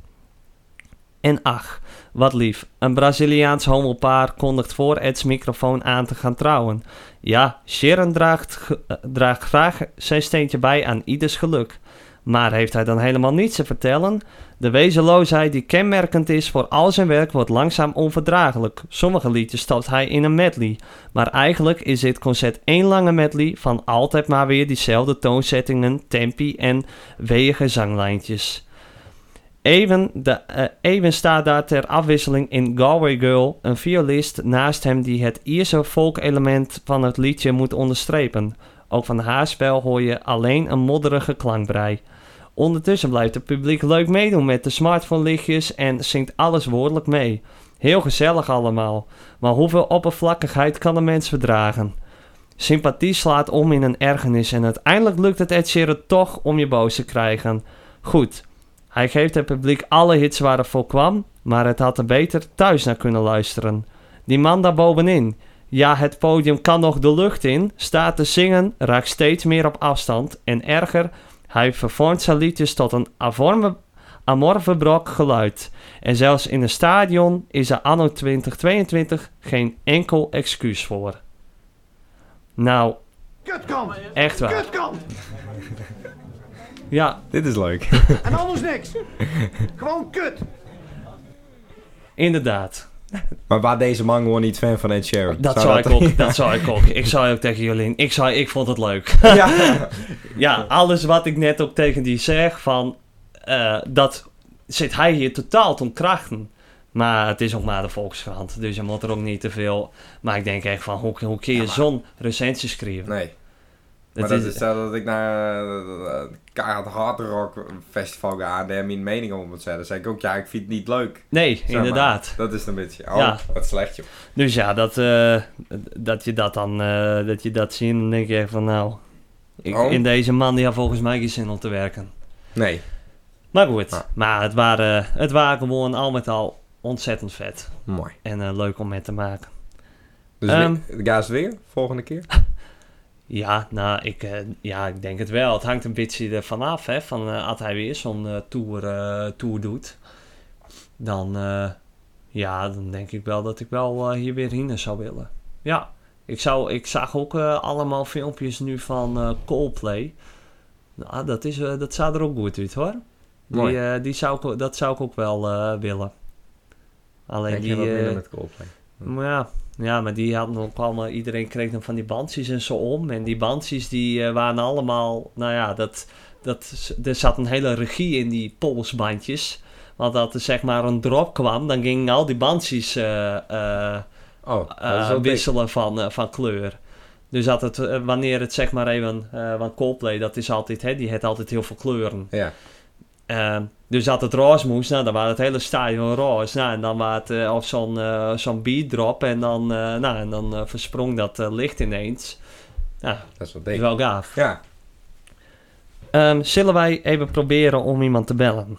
Speaker 1: En ach, wat lief. Een Braziliaans homopaar kondigt voor Ed's microfoon aan te gaan trouwen. Ja, Sharon draagt, ge- eh, draagt graag zijn steentje bij aan ieders geluk. Maar heeft hij dan helemaal niets te vertellen? De wezenloosheid die kenmerkend is voor al zijn werk wordt langzaam onverdraaglijk. Sommige liedjes stapt hij in een medley. Maar eigenlijk is dit concert één lange medley van altijd maar weer diezelfde toonzettingen, tempi en wege zanglijntjes. Even, de, eh, even staat daar ter afwisseling in Galway Girl een violist naast hem die het Ierse volkelement van het liedje moet onderstrepen. Ook van haar spel hoor je alleen een modderige klankbrei. Ondertussen blijft het publiek leuk meedoen met de smartphone lichtjes en zingt alles woordelijk mee. Heel gezellig allemaal, maar hoeveel oppervlakkigheid kan een mens verdragen? Sympathie slaat om in een ergernis en uiteindelijk lukt het Ed Sheeran toch om je boos te krijgen. Goed, hij geeft het publiek alle hits waar het voor kwam, maar het had er beter thuis naar kunnen luisteren. Die man daar bovenin, ja het podium kan nog de lucht in, staat te zingen, raakt steeds meer op afstand en erger, hij vervormt zijn liedjes tot een avorme, amorfe brok geluid. En zelfs in een stadion is er anno 2022 geen enkel excuus voor. Nou,
Speaker 3: Kutkant!
Speaker 1: echt waar.
Speaker 3: Kutkant!
Speaker 1: Ja,
Speaker 2: Dit is leuk.
Speaker 3: En anders niks! Gewoon kut!
Speaker 1: inderdaad.
Speaker 2: Maar waar deze man gewoon niet fan van Ed Sheeran?
Speaker 1: Dat zou ik ook. Dat zou ik ook. Ik zou ook tegen jullie. Ik, zou, ik vond het leuk.
Speaker 2: ja.
Speaker 1: Ja, alles wat ik net ook tegen die zeg van eh, dat zit hij hier totaal te krachten. Maar het is ook maar de Volkskrant, dus je moet er ook niet te veel. Maar ik denk echt van hoe, hoe kun je zo'n recensie schrijven?
Speaker 2: Nee,
Speaker 1: Het
Speaker 2: maar dat
Speaker 1: is-
Speaker 2: is hetzelfde dat ik naar eh, het Karat Hard Rock Festival ga en daar mijn mening over moet zetten. Dan zeg ik ook, ja, ik vind het niet leuk.
Speaker 1: nee,
Speaker 2: Zeg maar.
Speaker 1: inderdaad.
Speaker 2: Dat is een beetje, oh,
Speaker 1: Ja.
Speaker 2: wat slecht joh.
Speaker 1: Dus ja, dat, eh, dat je dat dan eh, dat je dat ziet, dan denk je echt van nou, ik,
Speaker 2: Oh.
Speaker 1: in deze man die had volgens mij geen zin om te werken.
Speaker 2: Nee,
Speaker 1: Maar goed,
Speaker 2: Ja.
Speaker 1: maar het waren, het waren gewoon al met al ontzettend vet
Speaker 2: mooi.
Speaker 1: en eh, leuk om mee te maken.
Speaker 2: Dus
Speaker 1: Ehm.
Speaker 2: weer- ga eens weer, volgende keer.
Speaker 1: Ja, nou, ik, eh, ja, ik denk het wel. Het hangt een beetje ervan af, hè, van eh als hij weer zo'n eh, tour, eh, tour doet. Dan, eh, ja, dan denk ik wel dat ik wel eh, hier weer heen zou willen. Ja, ik, zou, ik zag ook eh, allemaal filmpjes nu van eh, Coldplay. Nou, dat, is, eh, dat zag er ook goed uit hoor. Die,
Speaker 2: Mooi.
Speaker 1: eh, die zou ik, dat zou ik ook wel eh, willen. Alleen
Speaker 2: ik
Speaker 1: die.
Speaker 2: heb wat minder
Speaker 1: eh,
Speaker 2: met Coldplay.
Speaker 1: maar ja, ja, maar die hadden ook allemaal, iedereen kreeg dan van die bandjes en zo om. En die bandjes die eh, waren allemaal, nou ja, dat, dat, is- er zat een hele regie in die polsbandjes. Want als er zeg maar een drop kwam, dan gingen al die bandjes eh, eh,
Speaker 2: Oh, dat
Speaker 1: eh,
Speaker 2: is wel dik.
Speaker 1: wisselen van, eh, van kleur. Dus dat het, eh, wanneer het zeg maar even, eh want Coldplay dat is altijd, hè, die heeft altijd heel veel kleuren.
Speaker 2: Ja,
Speaker 1: Ehm, dus dat het roze moest, nou, dan was het hele stadion roze. Nou, en dan was het eh, of zo'n eh, zo'n beatdrop en dan, eh, nou, en dan eh, versprong dat eh, licht ineens.
Speaker 2: dat is wel
Speaker 1: Dat
Speaker 2: dik.
Speaker 1: is wel gaaf.
Speaker 2: Ja,
Speaker 1: Ehm, zullen wij even proberen om iemand te bellen?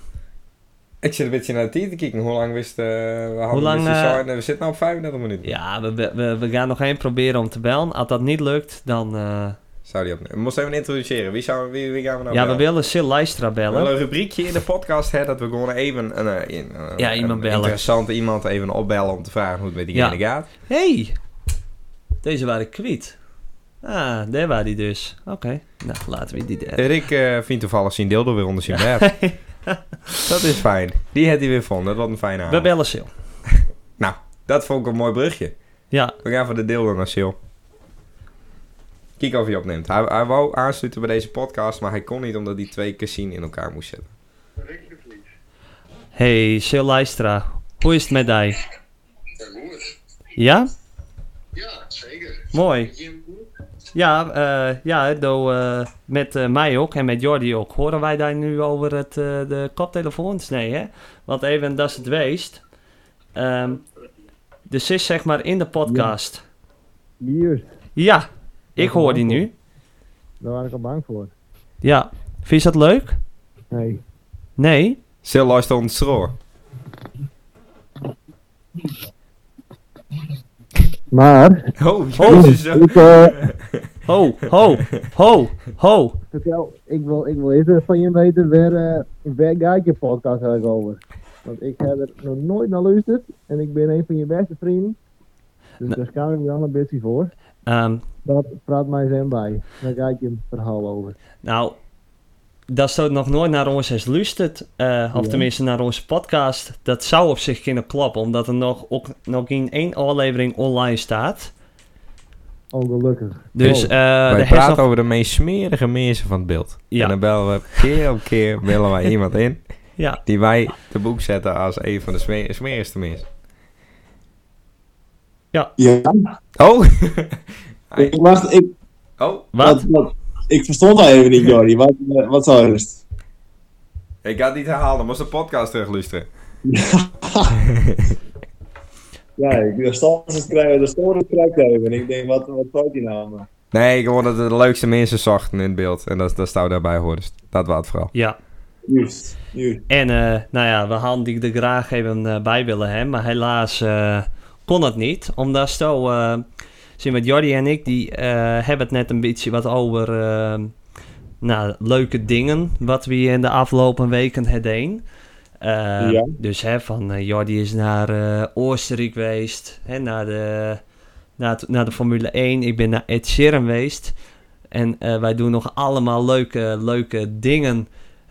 Speaker 2: ik zit een beetje naar de tijd te kijken. Hoe lang wist eh we hadden
Speaker 1: lang,
Speaker 2: wist je
Speaker 1: eh,
Speaker 2: zo- nee, We zitten nou op 35 minuten.
Speaker 1: Ja, we, we- we, we gaan nog één proberen om te bellen. Als dat niet lukt, dan... eh,
Speaker 2: Zou die opnemen? Moest even introduceren. Wie, zou, wie, wie gaan we nou
Speaker 1: ja, we
Speaker 2: bellen?
Speaker 1: willen Sil Leistra
Speaker 2: We willen
Speaker 1: bellen.
Speaker 2: een rubriekje in de podcast hè, dat we gewoon even een, eh, in- eh,
Speaker 1: Ja, iemand
Speaker 2: een
Speaker 1: bellen.
Speaker 2: interessante iemand even opbellen om te vragen hoe het met diegene gaat.
Speaker 1: hey, deze waren kwiet. Ah, daar waren die dus. Oké, nou laten we die daar.
Speaker 2: Rick eh vindt toevallig zijn dildo weer onder zijn bed. dat is fijn. Die had hij weer gevonden. Dat was een fijne
Speaker 1: We
Speaker 2: avond.
Speaker 1: bellen Sil.
Speaker 2: Dat vond ik een mooi brugje.
Speaker 1: Ja,
Speaker 2: We gaan voor de dildo naar Sil. Kijk of hij opneemt. Hij, hij wou aansluiten bij deze podcast, maar hij kon niet omdat hij twee casino in elkaar moest zetten.
Speaker 1: Hey, Sil Leistra. Hoe is het met jou?
Speaker 4: Ja, goed.
Speaker 1: Ja?
Speaker 4: Ja, zeker.
Speaker 1: Mooi.
Speaker 4: Vind je hem goed?
Speaker 1: Ja, eh, ja do, eh, met eh, mij ook en met Jordi ook. Horen wij daar nu over het, eh, de koptelefoons? Nee, hè? Want even, dat is het weest. Ehm dus is zeg maar in de podcast.
Speaker 5: Hier,
Speaker 1: Ja, ik hoor die nu.
Speaker 5: daar was ik al bang voor.
Speaker 1: Ja. Vind je dat leuk?
Speaker 5: Nee,
Speaker 1: Nee?
Speaker 2: Sil luistert ons roor.
Speaker 5: maar
Speaker 2: Oh,
Speaker 1: Oh.
Speaker 2: jezus.
Speaker 5: ik, eh,
Speaker 1: Ho, ho, ho, ho.
Speaker 5: vertel, ik wil, ik wil eerst van je weten waar, eh, waar gaat je podcast eigenlijk over? Want ik heb er nog nooit naar luisterd en ik ben een van je beste vrienden. Dus
Speaker 1: Nou.
Speaker 5: daar schaam ik me wel een beetje voor.
Speaker 1: Ehm,
Speaker 5: Dat praat mij zijn bij. Daar gaat je verhaal over.
Speaker 1: Nou, dat ze nog nooit naar ons is luistert, eh, of
Speaker 5: Ja.
Speaker 1: tenminste naar onze podcast, dat zou op zich kunnen kloppen, omdat er nog, ook, nog in één aflevering online staat.
Speaker 5: Ongelukkig.
Speaker 1: Dus
Speaker 5: Oh.
Speaker 1: eh
Speaker 2: wij
Speaker 1: de
Speaker 2: praten
Speaker 1: hersen-
Speaker 2: over de meest smerige mensen van het beeld.
Speaker 1: Ja.
Speaker 2: En dan bellen we keer op keer bellen wij iemand in
Speaker 1: Ja,
Speaker 2: die wij te boek zetten als een van de sme- smerigste mensen.
Speaker 6: Ja,
Speaker 2: Oh!
Speaker 6: ik, wacht, ik,
Speaker 2: oh!
Speaker 1: wat?
Speaker 6: ik verstond al even niet, Jordi. Wat, eh, wat zou rust?
Speaker 2: Ik had het niet herhaald, dan moest de podcast terugluisteren.
Speaker 6: Ja, ik de standaard krijgen, de standaard krijgt even. Ik denk, wat, wat zou die nou? maar?
Speaker 2: Nee, gewoon dat we de leukste mensen zochten in het beeld. En dat, dat zou daarbij horen. Dus dat was het vooral.
Speaker 1: Ja.
Speaker 6: Juist, juist.
Speaker 1: En eh, nou ja, we hadden die er graag even eh, bij willen hebben, maar helaas eh, kon het niet. Omdat zo, eh zien we Jordi en ik, die eh, hebben het net een beetje wat over eh, nou, leuke dingen wat we in de afgelopen weken hebben gedaan. Eh,
Speaker 6: Ja.
Speaker 1: Dus hè, van eh, Jordi is naar eh Oostenrijk geweest, hè, naar, de, naar, het- naar de Formule 1. Ik ben naar Ed Sheeran geweest. En eh, wij doen nog allemaal leuke, leuke dingen.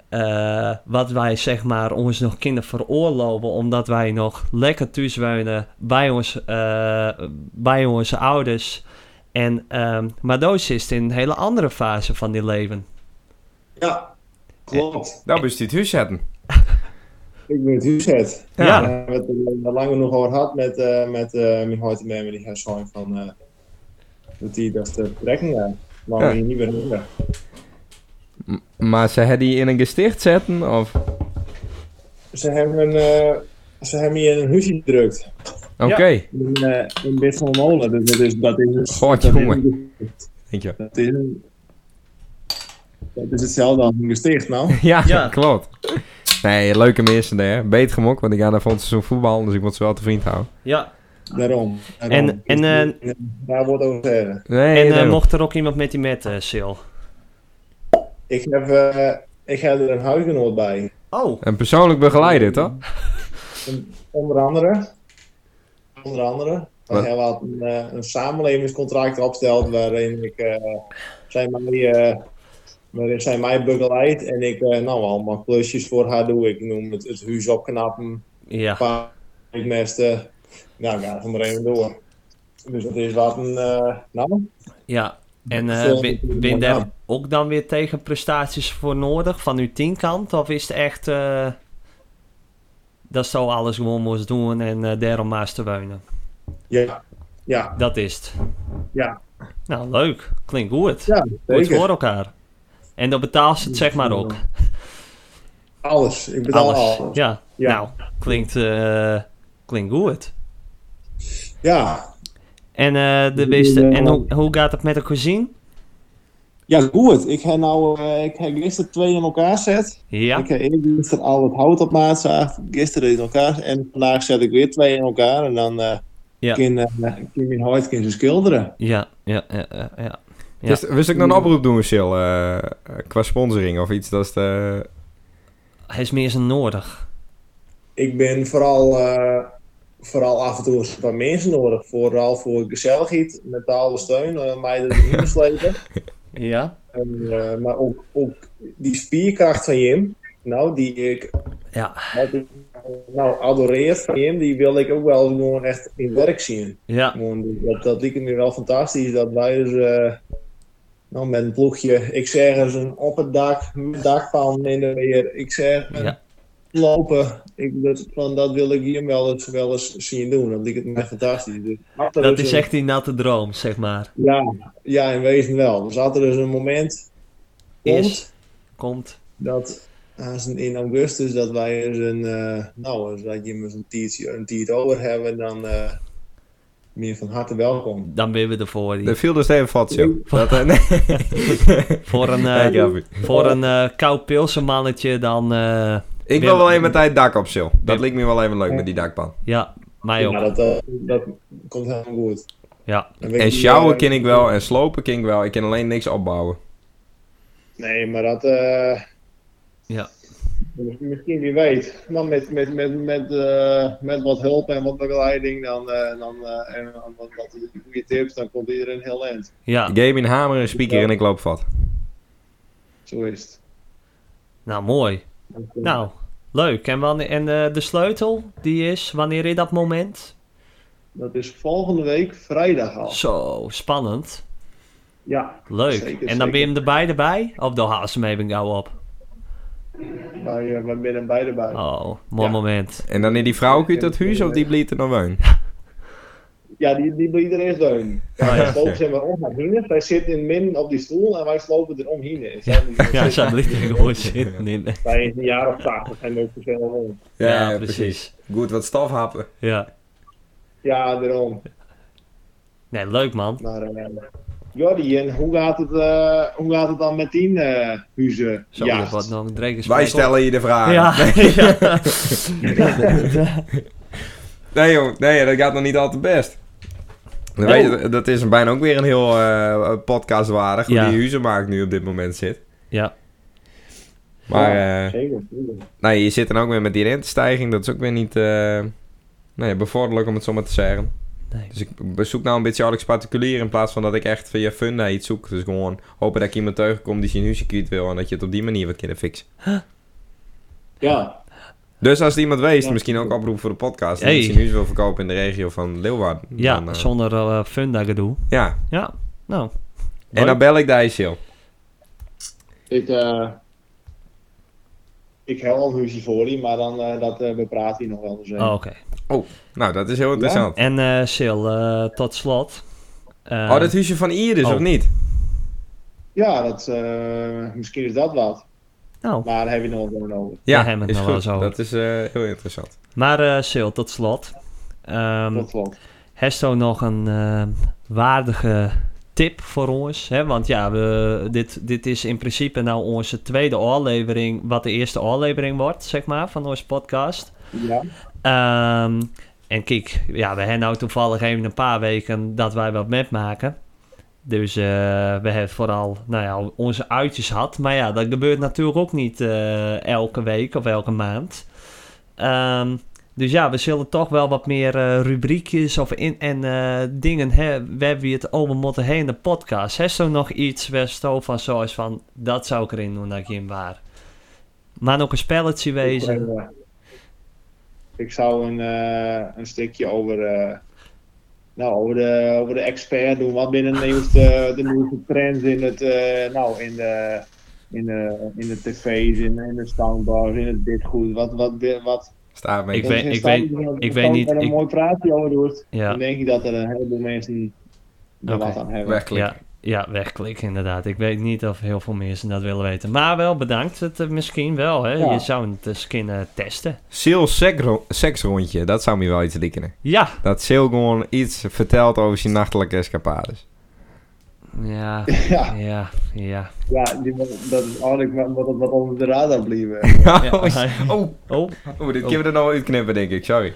Speaker 1: eh, wat wij zeg maar ons nog kunnen veroorloven. Omdat wij nog lekker thuis wonen bij, ons, eh, bij onze ouders. En, ehm maar Doos is in een hele andere fase van die leven.
Speaker 6: Ja, klopt.
Speaker 2: Nou, moest je het huis zetten.
Speaker 6: Ik ben het Huzet.
Speaker 1: Ja.
Speaker 6: We hebben het er lang genoeg over gehad met, eh met eh mijn houten met die herzoen van... eh dat die dat de trekking aan. Waarom
Speaker 2: Ja.
Speaker 6: je niet meer herinneren.
Speaker 2: Maar ze had die in een gesticht zetten? Of? Oké.
Speaker 6: Ze hebben, een, eh, ze hebben hier een huisje gedrukt. In, eh in Bit van de Molen. Dus dat is... Dat is
Speaker 2: God,
Speaker 6: dat is-
Speaker 2: jongen. Denk je.
Speaker 6: Dat is, een- dat is hetzelfde als een gesticht, nou.
Speaker 2: Ja,
Speaker 1: Ja.
Speaker 2: klopt. Nee, leuke mensen daar. Beet gemok, want ik ga naar volgend seizoen voetbal, dus ik moet ze wel te vriend houden.
Speaker 1: Ja,
Speaker 6: Daarom. daarom. Dus
Speaker 1: En- en, eh,
Speaker 6: daar wordt over gezegd.
Speaker 2: Nee,
Speaker 1: en eh,
Speaker 2: daarom.
Speaker 1: mocht er ook iemand met die met, eh Sil?
Speaker 6: Ik heb, eh, ik heb er een huisgenoot bij.
Speaker 1: Oh,
Speaker 2: Een persoonlijk begeleider, toch?
Speaker 6: Onder andere. Onder andere. Want hij had een, eh, een samenlevingscontract opgesteld waarin ik eh, zij mij, eh, waarin zij mij begeleidt en ik eh, nou allemaal klusjes voor haar doe. Ik noem het het huis opknappen,
Speaker 1: Ja,
Speaker 6: paardmesten. Nou, ga er maar even door. Dus dat is wat een eh, nou.
Speaker 1: ja. En
Speaker 6: Dat,
Speaker 1: eh,
Speaker 6: eh,
Speaker 1: ben-
Speaker 6: moet
Speaker 1: ben
Speaker 6: ik
Speaker 1: daar
Speaker 6: maar
Speaker 1: ook dan weer tegen prestaties voor nodig van uw tienkant? Of is het echt eh, dat zo alles gewoon moest doen en eh, daarom maar steunen?
Speaker 6: Ja, ja,
Speaker 1: Dat is het.
Speaker 6: ja.
Speaker 1: Nou, leuk. Klinkt goed.
Speaker 6: Ja,
Speaker 1: goed
Speaker 6: zeker.
Speaker 1: voor elkaar. En dan betaalt ze het zeg maar ook.
Speaker 6: Alles. Ik betaal
Speaker 1: Alles.
Speaker 6: alles.
Speaker 1: Ja.
Speaker 6: Ja.
Speaker 1: Nou, klinkt, eh, klinkt goed.
Speaker 6: Ja.
Speaker 1: En, eh, de
Speaker 6: Ik
Speaker 1: beste,
Speaker 6: bedoel, eh,
Speaker 1: en hoe, hoe gaat het met de cuisine?
Speaker 6: Ja, goed. Ik heb nou, eh, ik heb gisteren twee in elkaar gezet.
Speaker 1: Ja.
Speaker 6: Ik heb eerst gisteren al het hout op maat zaagd, gisteren in elkaar. En vandaag zet ik weer twee in elkaar. En dan eh
Speaker 1: Ja.
Speaker 6: kan, eh, kan mijn hout kan ze schilderen.
Speaker 1: Ja, ja, ja, ja, ja. Ja.
Speaker 2: Wist, wist ik nog een oproep doen, Sil? eh, qua sponsoring of iets. Dat is de...
Speaker 1: Hij is meer zijn nodig.
Speaker 6: Ik ben vooral, eh, vooral af en toe eens wat mensen nodig. Vooral voor gezelligheid, mentale steun, om mij er niet te slepen.
Speaker 1: Ja.
Speaker 6: En, eh, maar ook, ook die spierkracht van Jim, nou, die ik
Speaker 1: Ja,
Speaker 6: wat ik nou adoreer van Jim, die wil ik ook wel gewoon echt in werk zien.
Speaker 1: ja,
Speaker 6: Gewoon, dat, dat lijkt me wel fantastisch dat wij dus eh, nou, met een ploegje, ik zeg eens een op het dak, met dakpan in de weer, ik zeg een
Speaker 1: Ja.
Speaker 6: lopen. Ik, dat, van, dat wil ik hier wel eens, wel eens zien doen, dat lijkt me echt fantastisch. Dus, als er
Speaker 1: dat
Speaker 6: dus
Speaker 1: is
Speaker 6: een-
Speaker 1: echt die natte droom, zeg maar.
Speaker 6: Ja, ja, in wezen wel. Dus had er dus een moment komt,
Speaker 1: Is, komt.
Speaker 6: dat eh, als een- in augustus dat wij eens een, eh, nou, als dat je eens een tiert, een tiert over hebben, dan eh, meer van harte welkom.
Speaker 1: Dan ben we ervoor.
Speaker 2: De
Speaker 1: hier.
Speaker 2: viel dus even vat, Sil. Dat, eh, nee.
Speaker 1: Voor een, eh,
Speaker 2: Ja, ik heb het.
Speaker 1: voor een eh koud pilsenmannetje dan... eh,
Speaker 2: Ik
Speaker 1: Wim-
Speaker 2: wil wel even met tijd dak op, Sil. Dat
Speaker 1: Wim-
Speaker 2: lijkt me wel even leuk met die dakpan.
Speaker 1: ja, mij
Speaker 6: Ja,
Speaker 1: ook.
Speaker 6: dat, eh, dat komt helemaal goed.
Speaker 1: Ah, Ja,
Speaker 6: Dan weet
Speaker 2: En
Speaker 6: ik,
Speaker 2: sjouwen
Speaker 6: eh,
Speaker 2: ken ik wel en slopen ken ik wel. Ik kan alleen niks opbouwen.
Speaker 6: Nee, maar dat. eh,
Speaker 1: Ja.
Speaker 6: Misschien wie weet. Dan met, met, met, met, eh, met wat hulp en wat begeleiding dan, eh, dan, eh, en dan wat, wat goede tips, dan komt iedereen heel eind.
Speaker 1: ja.
Speaker 2: Game in hamer en speaker en ik loop vat.
Speaker 6: Zo is het.
Speaker 1: Nou, mooi. Nou, leuk. En, wanneer, en eh, de sleutel, die is wanneer in dat moment?
Speaker 6: Dat is volgende week vrijdag al.
Speaker 1: Zo, spannend.
Speaker 6: Ja,
Speaker 1: Leuk.
Speaker 6: Zeker,
Speaker 1: en dan ben je
Speaker 6: zeker.
Speaker 1: hem erbij erbij? Of dan haal ze hem even gauw op.
Speaker 6: wij, eh, wij zijn beide bij.
Speaker 1: Oh, mooi
Speaker 6: Ja.
Speaker 1: moment.
Speaker 2: En dan is die vrouw uit dat huis of die blieft er nog woon?
Speaker 6: Ja, die, die bleef er eerst doorheen. Ja,
Speaker 1: Ah, ja.
Speaker 6: wij slopen zeg maar om naar Hines. Wij zitten in min op die stoel en wij slopen er om Hines. Ja,
Speaker 1: Ja, ze blijft er gewoon zitten. in.
Speaker 6: Wij zijn een jaar of tachtig en ook veel om.
Speaker 1: Ja, precies.
Speaker 2: Goed, wat stafhappen.
Speaker 1: Ja.
Speaker 6: Ja, daarom.
Speaker 1: Nee, leuk man.
Speaker 6: Maar eh, Jordi, en hoe gaat het, eh, hoe gaat het dan met die eh huizen?
Speaker 1: Zo,
Speaker 6: Ja.
Speaker 1: ja. wat nog een drinken
Speaker 2: Wij
Speaker 1: spekkel.
Speaker 2: stellen je de vraag.
Speaker 1: Ja, ja.
Speaker 2: Nee, jong, nee, dat gaat nog niet al te best. Dan weet
Speaker 1: Oh.
Speaker 2: je, dat is bijna ook weer een heel eh, podcast waardig.
Speaker 1: Ja.
Speaker 2: Hoe die huizenmarkt nu op dit moment zit.
Speaker 1: ja.
Speaker 2: Maar eh,
Speaker 6: Zeker, zeker.
Speaker 2: nee, je zit dan ook weer met die rentestijging. Dat is ook weer niet eh nee, bevorderlijk om het zo maar te zeggen.
Speaker 1: Nee.
Speaker 2: Dus ik zoek nou een beetje Alex particulier in plaats van dat ik echt via fun naar iets zoek. Dus gewoon hopen dat ik iemand tegenkom die zijn huisje kwijt wil en dat je het op die manier wat kunnen fixen.
Speaker 6: Ja,
Speaker 2: Dus als er iemand wees,
Speaker 6: Ja.
Speaker 2: misschien ook oproep voor de podcast.
Speaker 1: Hey.
Speaker 2: Die zijn huis wil verkopen in de regio van Leeuwarden. Dan,
Speaker 1: ja
Speaker 2: eh,
Speaker 1: zonder eh funda gedoe.
Speaker 2: ja.
Speaker 1: Ja, nou.
Speaker 2: En dan bel ik de ICL.
Speaker 6: ik, eh ik heb al een huisje voor die, maar dan, eh, dat eh bepraat hij nog wel eens. eh.
Speaker 1: Oh, Oké.
Speaker 2: Nou, dat is heel interessant.
Speaker 1: En eh Sil, eh, tot slot. Eh,
Speaker 2: oh, dat huisje van Iris,
Speaker 1: oh.
Speaker 2: of niet?
Speaker 6: Ja, dat, eh, misschien is dat wat.
Speaker 1: Nou,
Speaker 6: Maar daar heb je nog wel voor nodig.
Speaker 1: Daar
Speaker 2: Ja,
Speaker 1: hebben we het
Speaker 2: is
Speaker 1: nog wel
Speaker 2: goed.
Speaker 1: eens over.
Speaker 2: Dat is eh, heel interessant.
Speaker 1: maar eh Sil, tot slot. Ehm,
Speaker 6: Tot slot.
Speaker 1: Hesto nog een eh, waardige tip voor ons. Hè? Want ja, we, dit, dit is in principe nou onze tweede aflevering, wat de eerste aflevering wordt, zeg maar, van onze podcast.
Speaker 6: Ja.
Speaker 1: Ehm, en kijk, ja, we hebben nou toevallig even een paar weken dat wij wat met maken. Dus eh, we hebben vooral nou ja, onze uitjes gehad. Maar ja, dat gebeurt natuurlijk ook niet eh, elke week of elke maand. Ehm, Dus ja, we zullen toch wel wat meer eh, rubriekjes of in, en eh, dingen hebben. We hebben het over moeten heen de podcast. Heeft er nog iets waar Sto van zo is van dat zou ik erin doen dat ik in waar? Maar ook een spelletje wezen.
Speaker 6: Ik, eh, ik zou een, eh, een stukje over, eh, nou, over, de, over de expert doen. Wat binnen de nieuwste, de nieuwste trends in, het, eh, nou, in, de, in, de, in de tv's, in, in de soundbars, in het ditgoed. Wat, wat, wat,
Speaker 2: Staat mee.
Speaker 1: Ik weet-
Speaker 6: als je
Speaker 1: weet-
Speaker 6: staat en-
Speaker 1: ik
Speaker 6: en
Speaker 1: weet niet-
Speaker 6: er een
Speaker 1: ik-
Speaker 6: mooi praatje over doet,
Speaker 1: Ja.
Speaker 6: dan denk ik dat er een heleboel mensen er
Speaker 1: Oké.
Speaker 6: wat aan hebben.
Speaker 2: Wegklikken.
Speaker 1: Ja, ja, wegklikken inderdaad. Ik weet niet of heel veel mensen dat willen weten. Maar wel bedankt. Het, eh, misschien wel. Hè?
Speaker 6: Ja.
Speaker 1: Je zou het eens kunnen testen.
Speaker 2: Sil sekro- seksrondje, dat zou me wel iets likken.
Speaker 1: Ja.
Speaker 2: Dat Sil gewoon iets vertelt over zijn nachtelijke escapades.
Speaker 1: Ja. Ja. Ja.
Speaker 6: Ja, die, dat is eigenlijk wat, wat, wat onder de radar eh. bleven.
Speaker 2: oh, oh,
Speaker 1: Oh,
Speaker 2: dit kunnen we er nog uitknippen, denk ik. Sorry.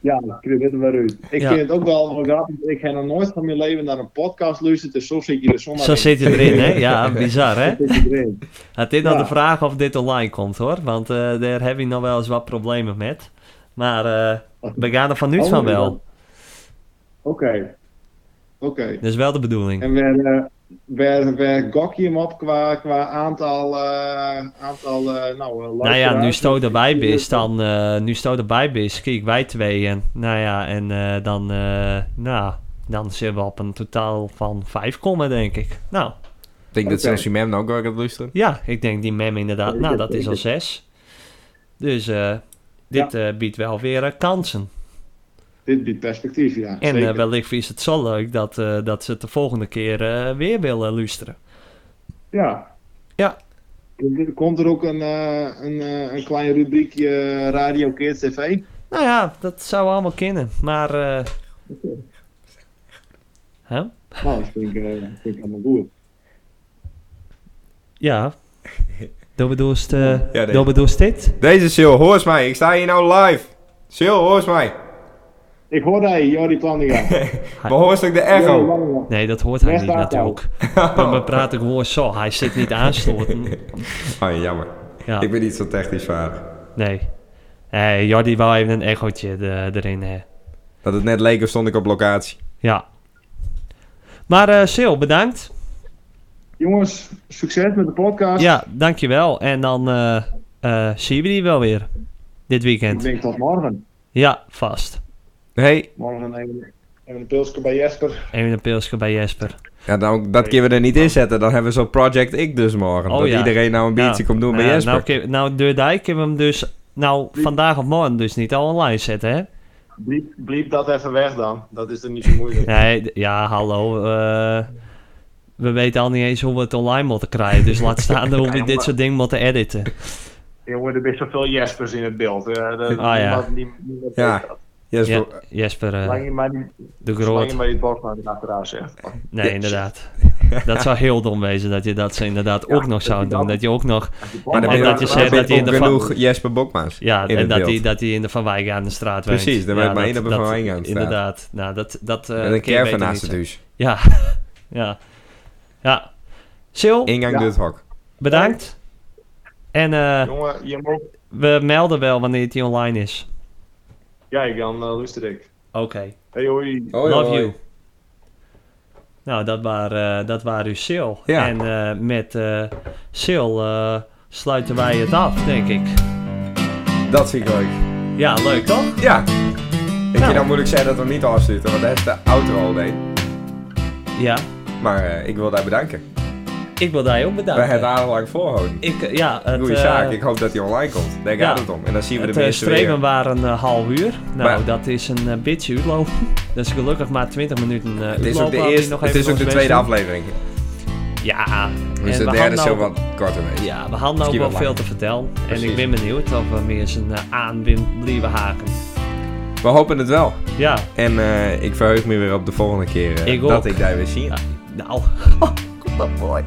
Speaker 6: Ja, ik knip het er maar uit. Ik
Speaker 1: Ja.
Speaker 6: vind het ook wel wel grappig. Ik heb nog nooit van mijn leven naar een podcast luisteren, dus zo zit je er zomaar
Speaker 1: zo
Speaker 6: in.
Speaker 1: zit je erin, hè? Ja, bizar, hè?
Speaker 6: Zo zit je erin.
Speaker 1: Het is nog
Speaker 6: Ja.
Speaker 1: de vraag of dit online komt, hoor. Want eh, daar heb ik nog wel eens wat problemen met. Maar eh, we gaan er van nu
Speaker 6: Oh,
Speaker 1: van wel.
Speaker 6: Oké. Oké.
Speaker 1: Dat is wel de bedoeling.
Speaker 6: En waar, eh, waar, waar gok je hem op qua, qua aantal, eh aantal eh nou, eh,
Speaker 1: Nou ja, nu
Speaker 6: luisteraars?
Speaker 1: Sto erbij is, dan... eh, nu Sto erbij is, kijk, wij tweeën. Nou ja, en eh, dan... eh, nou, dan zitten we op een totaal van vijf kommen, denk ik. Nou,
Speaker 2: Ik denk dat
Speaker 6: Oké.
Speaker 2: zelfs je mem nou ook wel gaat luisteren.
Speaker 1: ja, ik denk die mem inderdaad.
Speaker 6: Zeker,
Speaker 1: Nou, dat is
Speaker 6: zeker.
Speaker 1: al zes. Dus eh, dit eh, biedt wel weer eh, kansen.
Speaker 6: Dit biedt perspectief, ja.
Speaker 1: En
Speaker 6: zeker.
Speaker 1: eh, wellicht is het zo leuk dat, eh, dat ze het de volgende keer eh, weer willen luisteren.
Speaker 6: Ja.
Speaker 1: Ja.
Speaker 6: Komt er ook een, eh, een, eh, een klein rubriekje eh, Radio Kids TV?
Speaker 1: Nou ja, dat zou allemaal kunnen. Maar. eh, Hè?
Speaker 6: Nou, dat vind ik, eh, vind ik helemaal goed.
Speaker 1: Ja. Dat bedoelst, eh,
Speaker 2: Ja, nee.
Speaker 1: dat bedoelst dit?
Speaker 2: Deze Sil, hoor eens mij. Ik sta hier nou live. Sil, hoor eens mij.
Speaker 6: Ik hoor dat je, Jordi Plantinga.
Speaker 2: Behoorst ook de
Speaker 6: Jordi
Speaker 2: echo.
Speaker 6: Plantinga.
Speaker 1: Nee, dat hoort hij
Speaker 6: Waar
Speaker 1: niet
Speaker 6: staat hij?
Speaker 1: natuurlijk. Maar we praten gewoon zo. Hij zit niet aansloten.
Speaker 2: Oh, jammer.
Speaker 1: Ja,
Speaker 2: Ik ben niet zo technisch vaardig.
Speaker 1: nee. Nee, Jordi wou even een echootje er- erin. Hè.
Speaker 2: Dat het net leek of stond ik op locatie.
Speaker 1: Ja. Maar eh Sil, bedankt.
Speaker 6: Jongens, succes met de podcast.
Speaker 1: Ja, dankjewel. En dan eh, eh, zien we die wel weer. Dit
Speaker 6: Ik
Speaker 1: weekend.
Speaker 6: denk tot morgen.
Speaker 1: Ja, vast.
Speaker 2: Hey.
Speaker 6: Morgen even, even een pilsje bij Jesper.
Speaker 1: Even een pilsje bij Jesper.
Speaker 2: Ja, nou, dat keer we er niet in zetten. Dan hebben we zo'n Project Ik dus morgen.
Speaker 1: Oh,
Speaker 2: dat
Speaker 1: ja.
Speaker 2: iedereen nou een biertje komt doen bij
Speaker 1: Ja,
Speaker 2: Jesper.
Speaker 1: Nou, kun- nou door dijk hebben we hem dus... Nou, vandaag of morgen dus niet al online zetten, hè?
Speaker 6: Bliep, bliep dat even weg dan. Dat is er niet zo moeilijk.
Speaker 1: Nee, d- ja, hallo. eh, we weten al niet eens hoe we het online moeten krijgen. Dus laat staan hoe we dit soort dingen moeten editen.
Speaker 6: Jongen, er is zoveel Jespers in het beeld. eh, dat-
Speaker 1: Ah, ja.
Speaker 6: niemand- niemand- niemand
Speaker 2: Ja.
Speaker 6: weet dat.
Speaker 2: Jesper,
Speaker 1: Ja, Jesper eh,
Speaker 6: Zolang je maar niet-
Speaker 1: de
Speaker 6: zolang
Speaker 1: Groot.
Speaker 6: je maar je borst maar achteraan zegt.
Speaker 1: Nee, inderdaad. Dat zou heel dom wezen dat je dat ze inderdaad ook nog zou doen. Dat je ook nog...
Speaker 2: Maar dan ben je,
Speaker 1: dat je
Speaker 2: dan
Speaker 1: zegt
Speaker 2: ben je
Speaker 1: dat hij in
Speaker 2: ook
Speaker 1: de va-
Speaker 2: genoeg Jesper Bokma's
Speaker 1: Ja,
Speaker 2: in
Speaker 1: en
Speaker 2: het
Speaker 1: dat
Speaker 2: beeld.
Speaker 1: hij, dat hij in de Van Wijk aan de straat woont.
Speaker 2: Precies, daar
Speaker 1: ja,
Speaker 2: werd maar
Speaker 1: dat-
Speaker 2: één op de
Speaker 1: dat-
Speaker 2: Van Wijk aan de straat.
Speaker 1: Inderdaad, nou dat... dat eh,
Speaker 2: Met een
Speaker 1: kun je beter
Speaker 2: caravan naast
Speaker 1: niet
Speaker 2: het huis.
Speaker 1: zeggen. Ja, ja, ja. Sil,
Speaker 2: Ingang
Speaker 6: Ja.
Speaker 2: door het hok.
Speaker 1: bedankt. En eh,
Speaker 6: Jongen, je moet...
Speaker 1: we melden wel wanneer het hier online is.
Speaker 6: Ja, ik dan uh, luister ik.
Speaker 1: Oké,
Speaker 6: Hey hoi.
Speaker 1: love you. Nou, dat waren, eh dat waren uw Sil.
Speaker 2: Ja.
Speaker 1: En eh, met eh Sil eh, sluiten wij het af, denk ik.
Speaker 2: Dat vind ik leuk.
Speaker 1: Ja, leuk toch?
Speaker 2: Ja. Ik
Speaker 1: Nou.
Speaker 2: je dan moeilijk zeggen dat we hem niet afsluiten, want dat is de outro al deed.
Speaker 1: Ja,
Speaker 2: Maar eh, ik wil daar bedanken.
Speaker 1: ik wil daar ook
Speaker 2: We
Speaker 1: bedanken.
Speaker 2: hebben aangelang voorhouden.
Speaker 1: Ik, eh, ja, het,
Speaker 2: Goeie
Speaker 1: eh,
Speaker 2: zaak. Ik hoop dat hij online komt. Daar gaat
Speaker 1: ja.
Speaker 2: het om. En dan zien we
Speaker 1: Het
Speaker 2: de
Speaker 1: eh,
Speaker 2: meeste weer.
Speaker 1: streven waren een eh, half uur. Nou,
Speaker 2: Maar-
Speaker 1: dat is een eh, bitch uitlopen. Dat is gelukkig maar 20 minuten eh
Speaker 2: Het is ook
Speaker 1: uitlopen,
Speaker 2: de,
Speaker 1: had ik
Speaker 2: eerste,
Speaker 1: nog
Speaker 2: het
Speaker 1: even
Speaker 2: is ook de
Speaker 1: ons
Speaker 2: tweede
Speaker 1: best doen.
Speaker 2: aflevering.
Speaker 1: Ja. en
Speaker 2: Dus de
Speaker 1: we nou
Speaker 2: derde is
Speaker 1: hadden
Speaker 2: zo
Speaker 1: ook-
Speaker 2: wat korter geweest.
Speaker 1: Ja, we hadden ook
Speaker 2: Misschien
Speaker 1: wel
Speaker 2: wel
Speaker 1: veel
Speaker 2: langer.
Speaker 1: te vertellen. En ik
Speaker 2: Precies.
Speaker 1: ben benieuwd of we meer zijn eh, aan win- blijven haken.
Speaker 2: We hopen het wel.
Speaker 1: Ja,
Speaker 2: En eh, ik verheug me weer op de volgende keer eh,
Speaker 1: Ik ook. Oh.
Speaker 2: dat ik daar weer zie.
Speaker 1: nou.
Speaker 2: Kom op, mooi.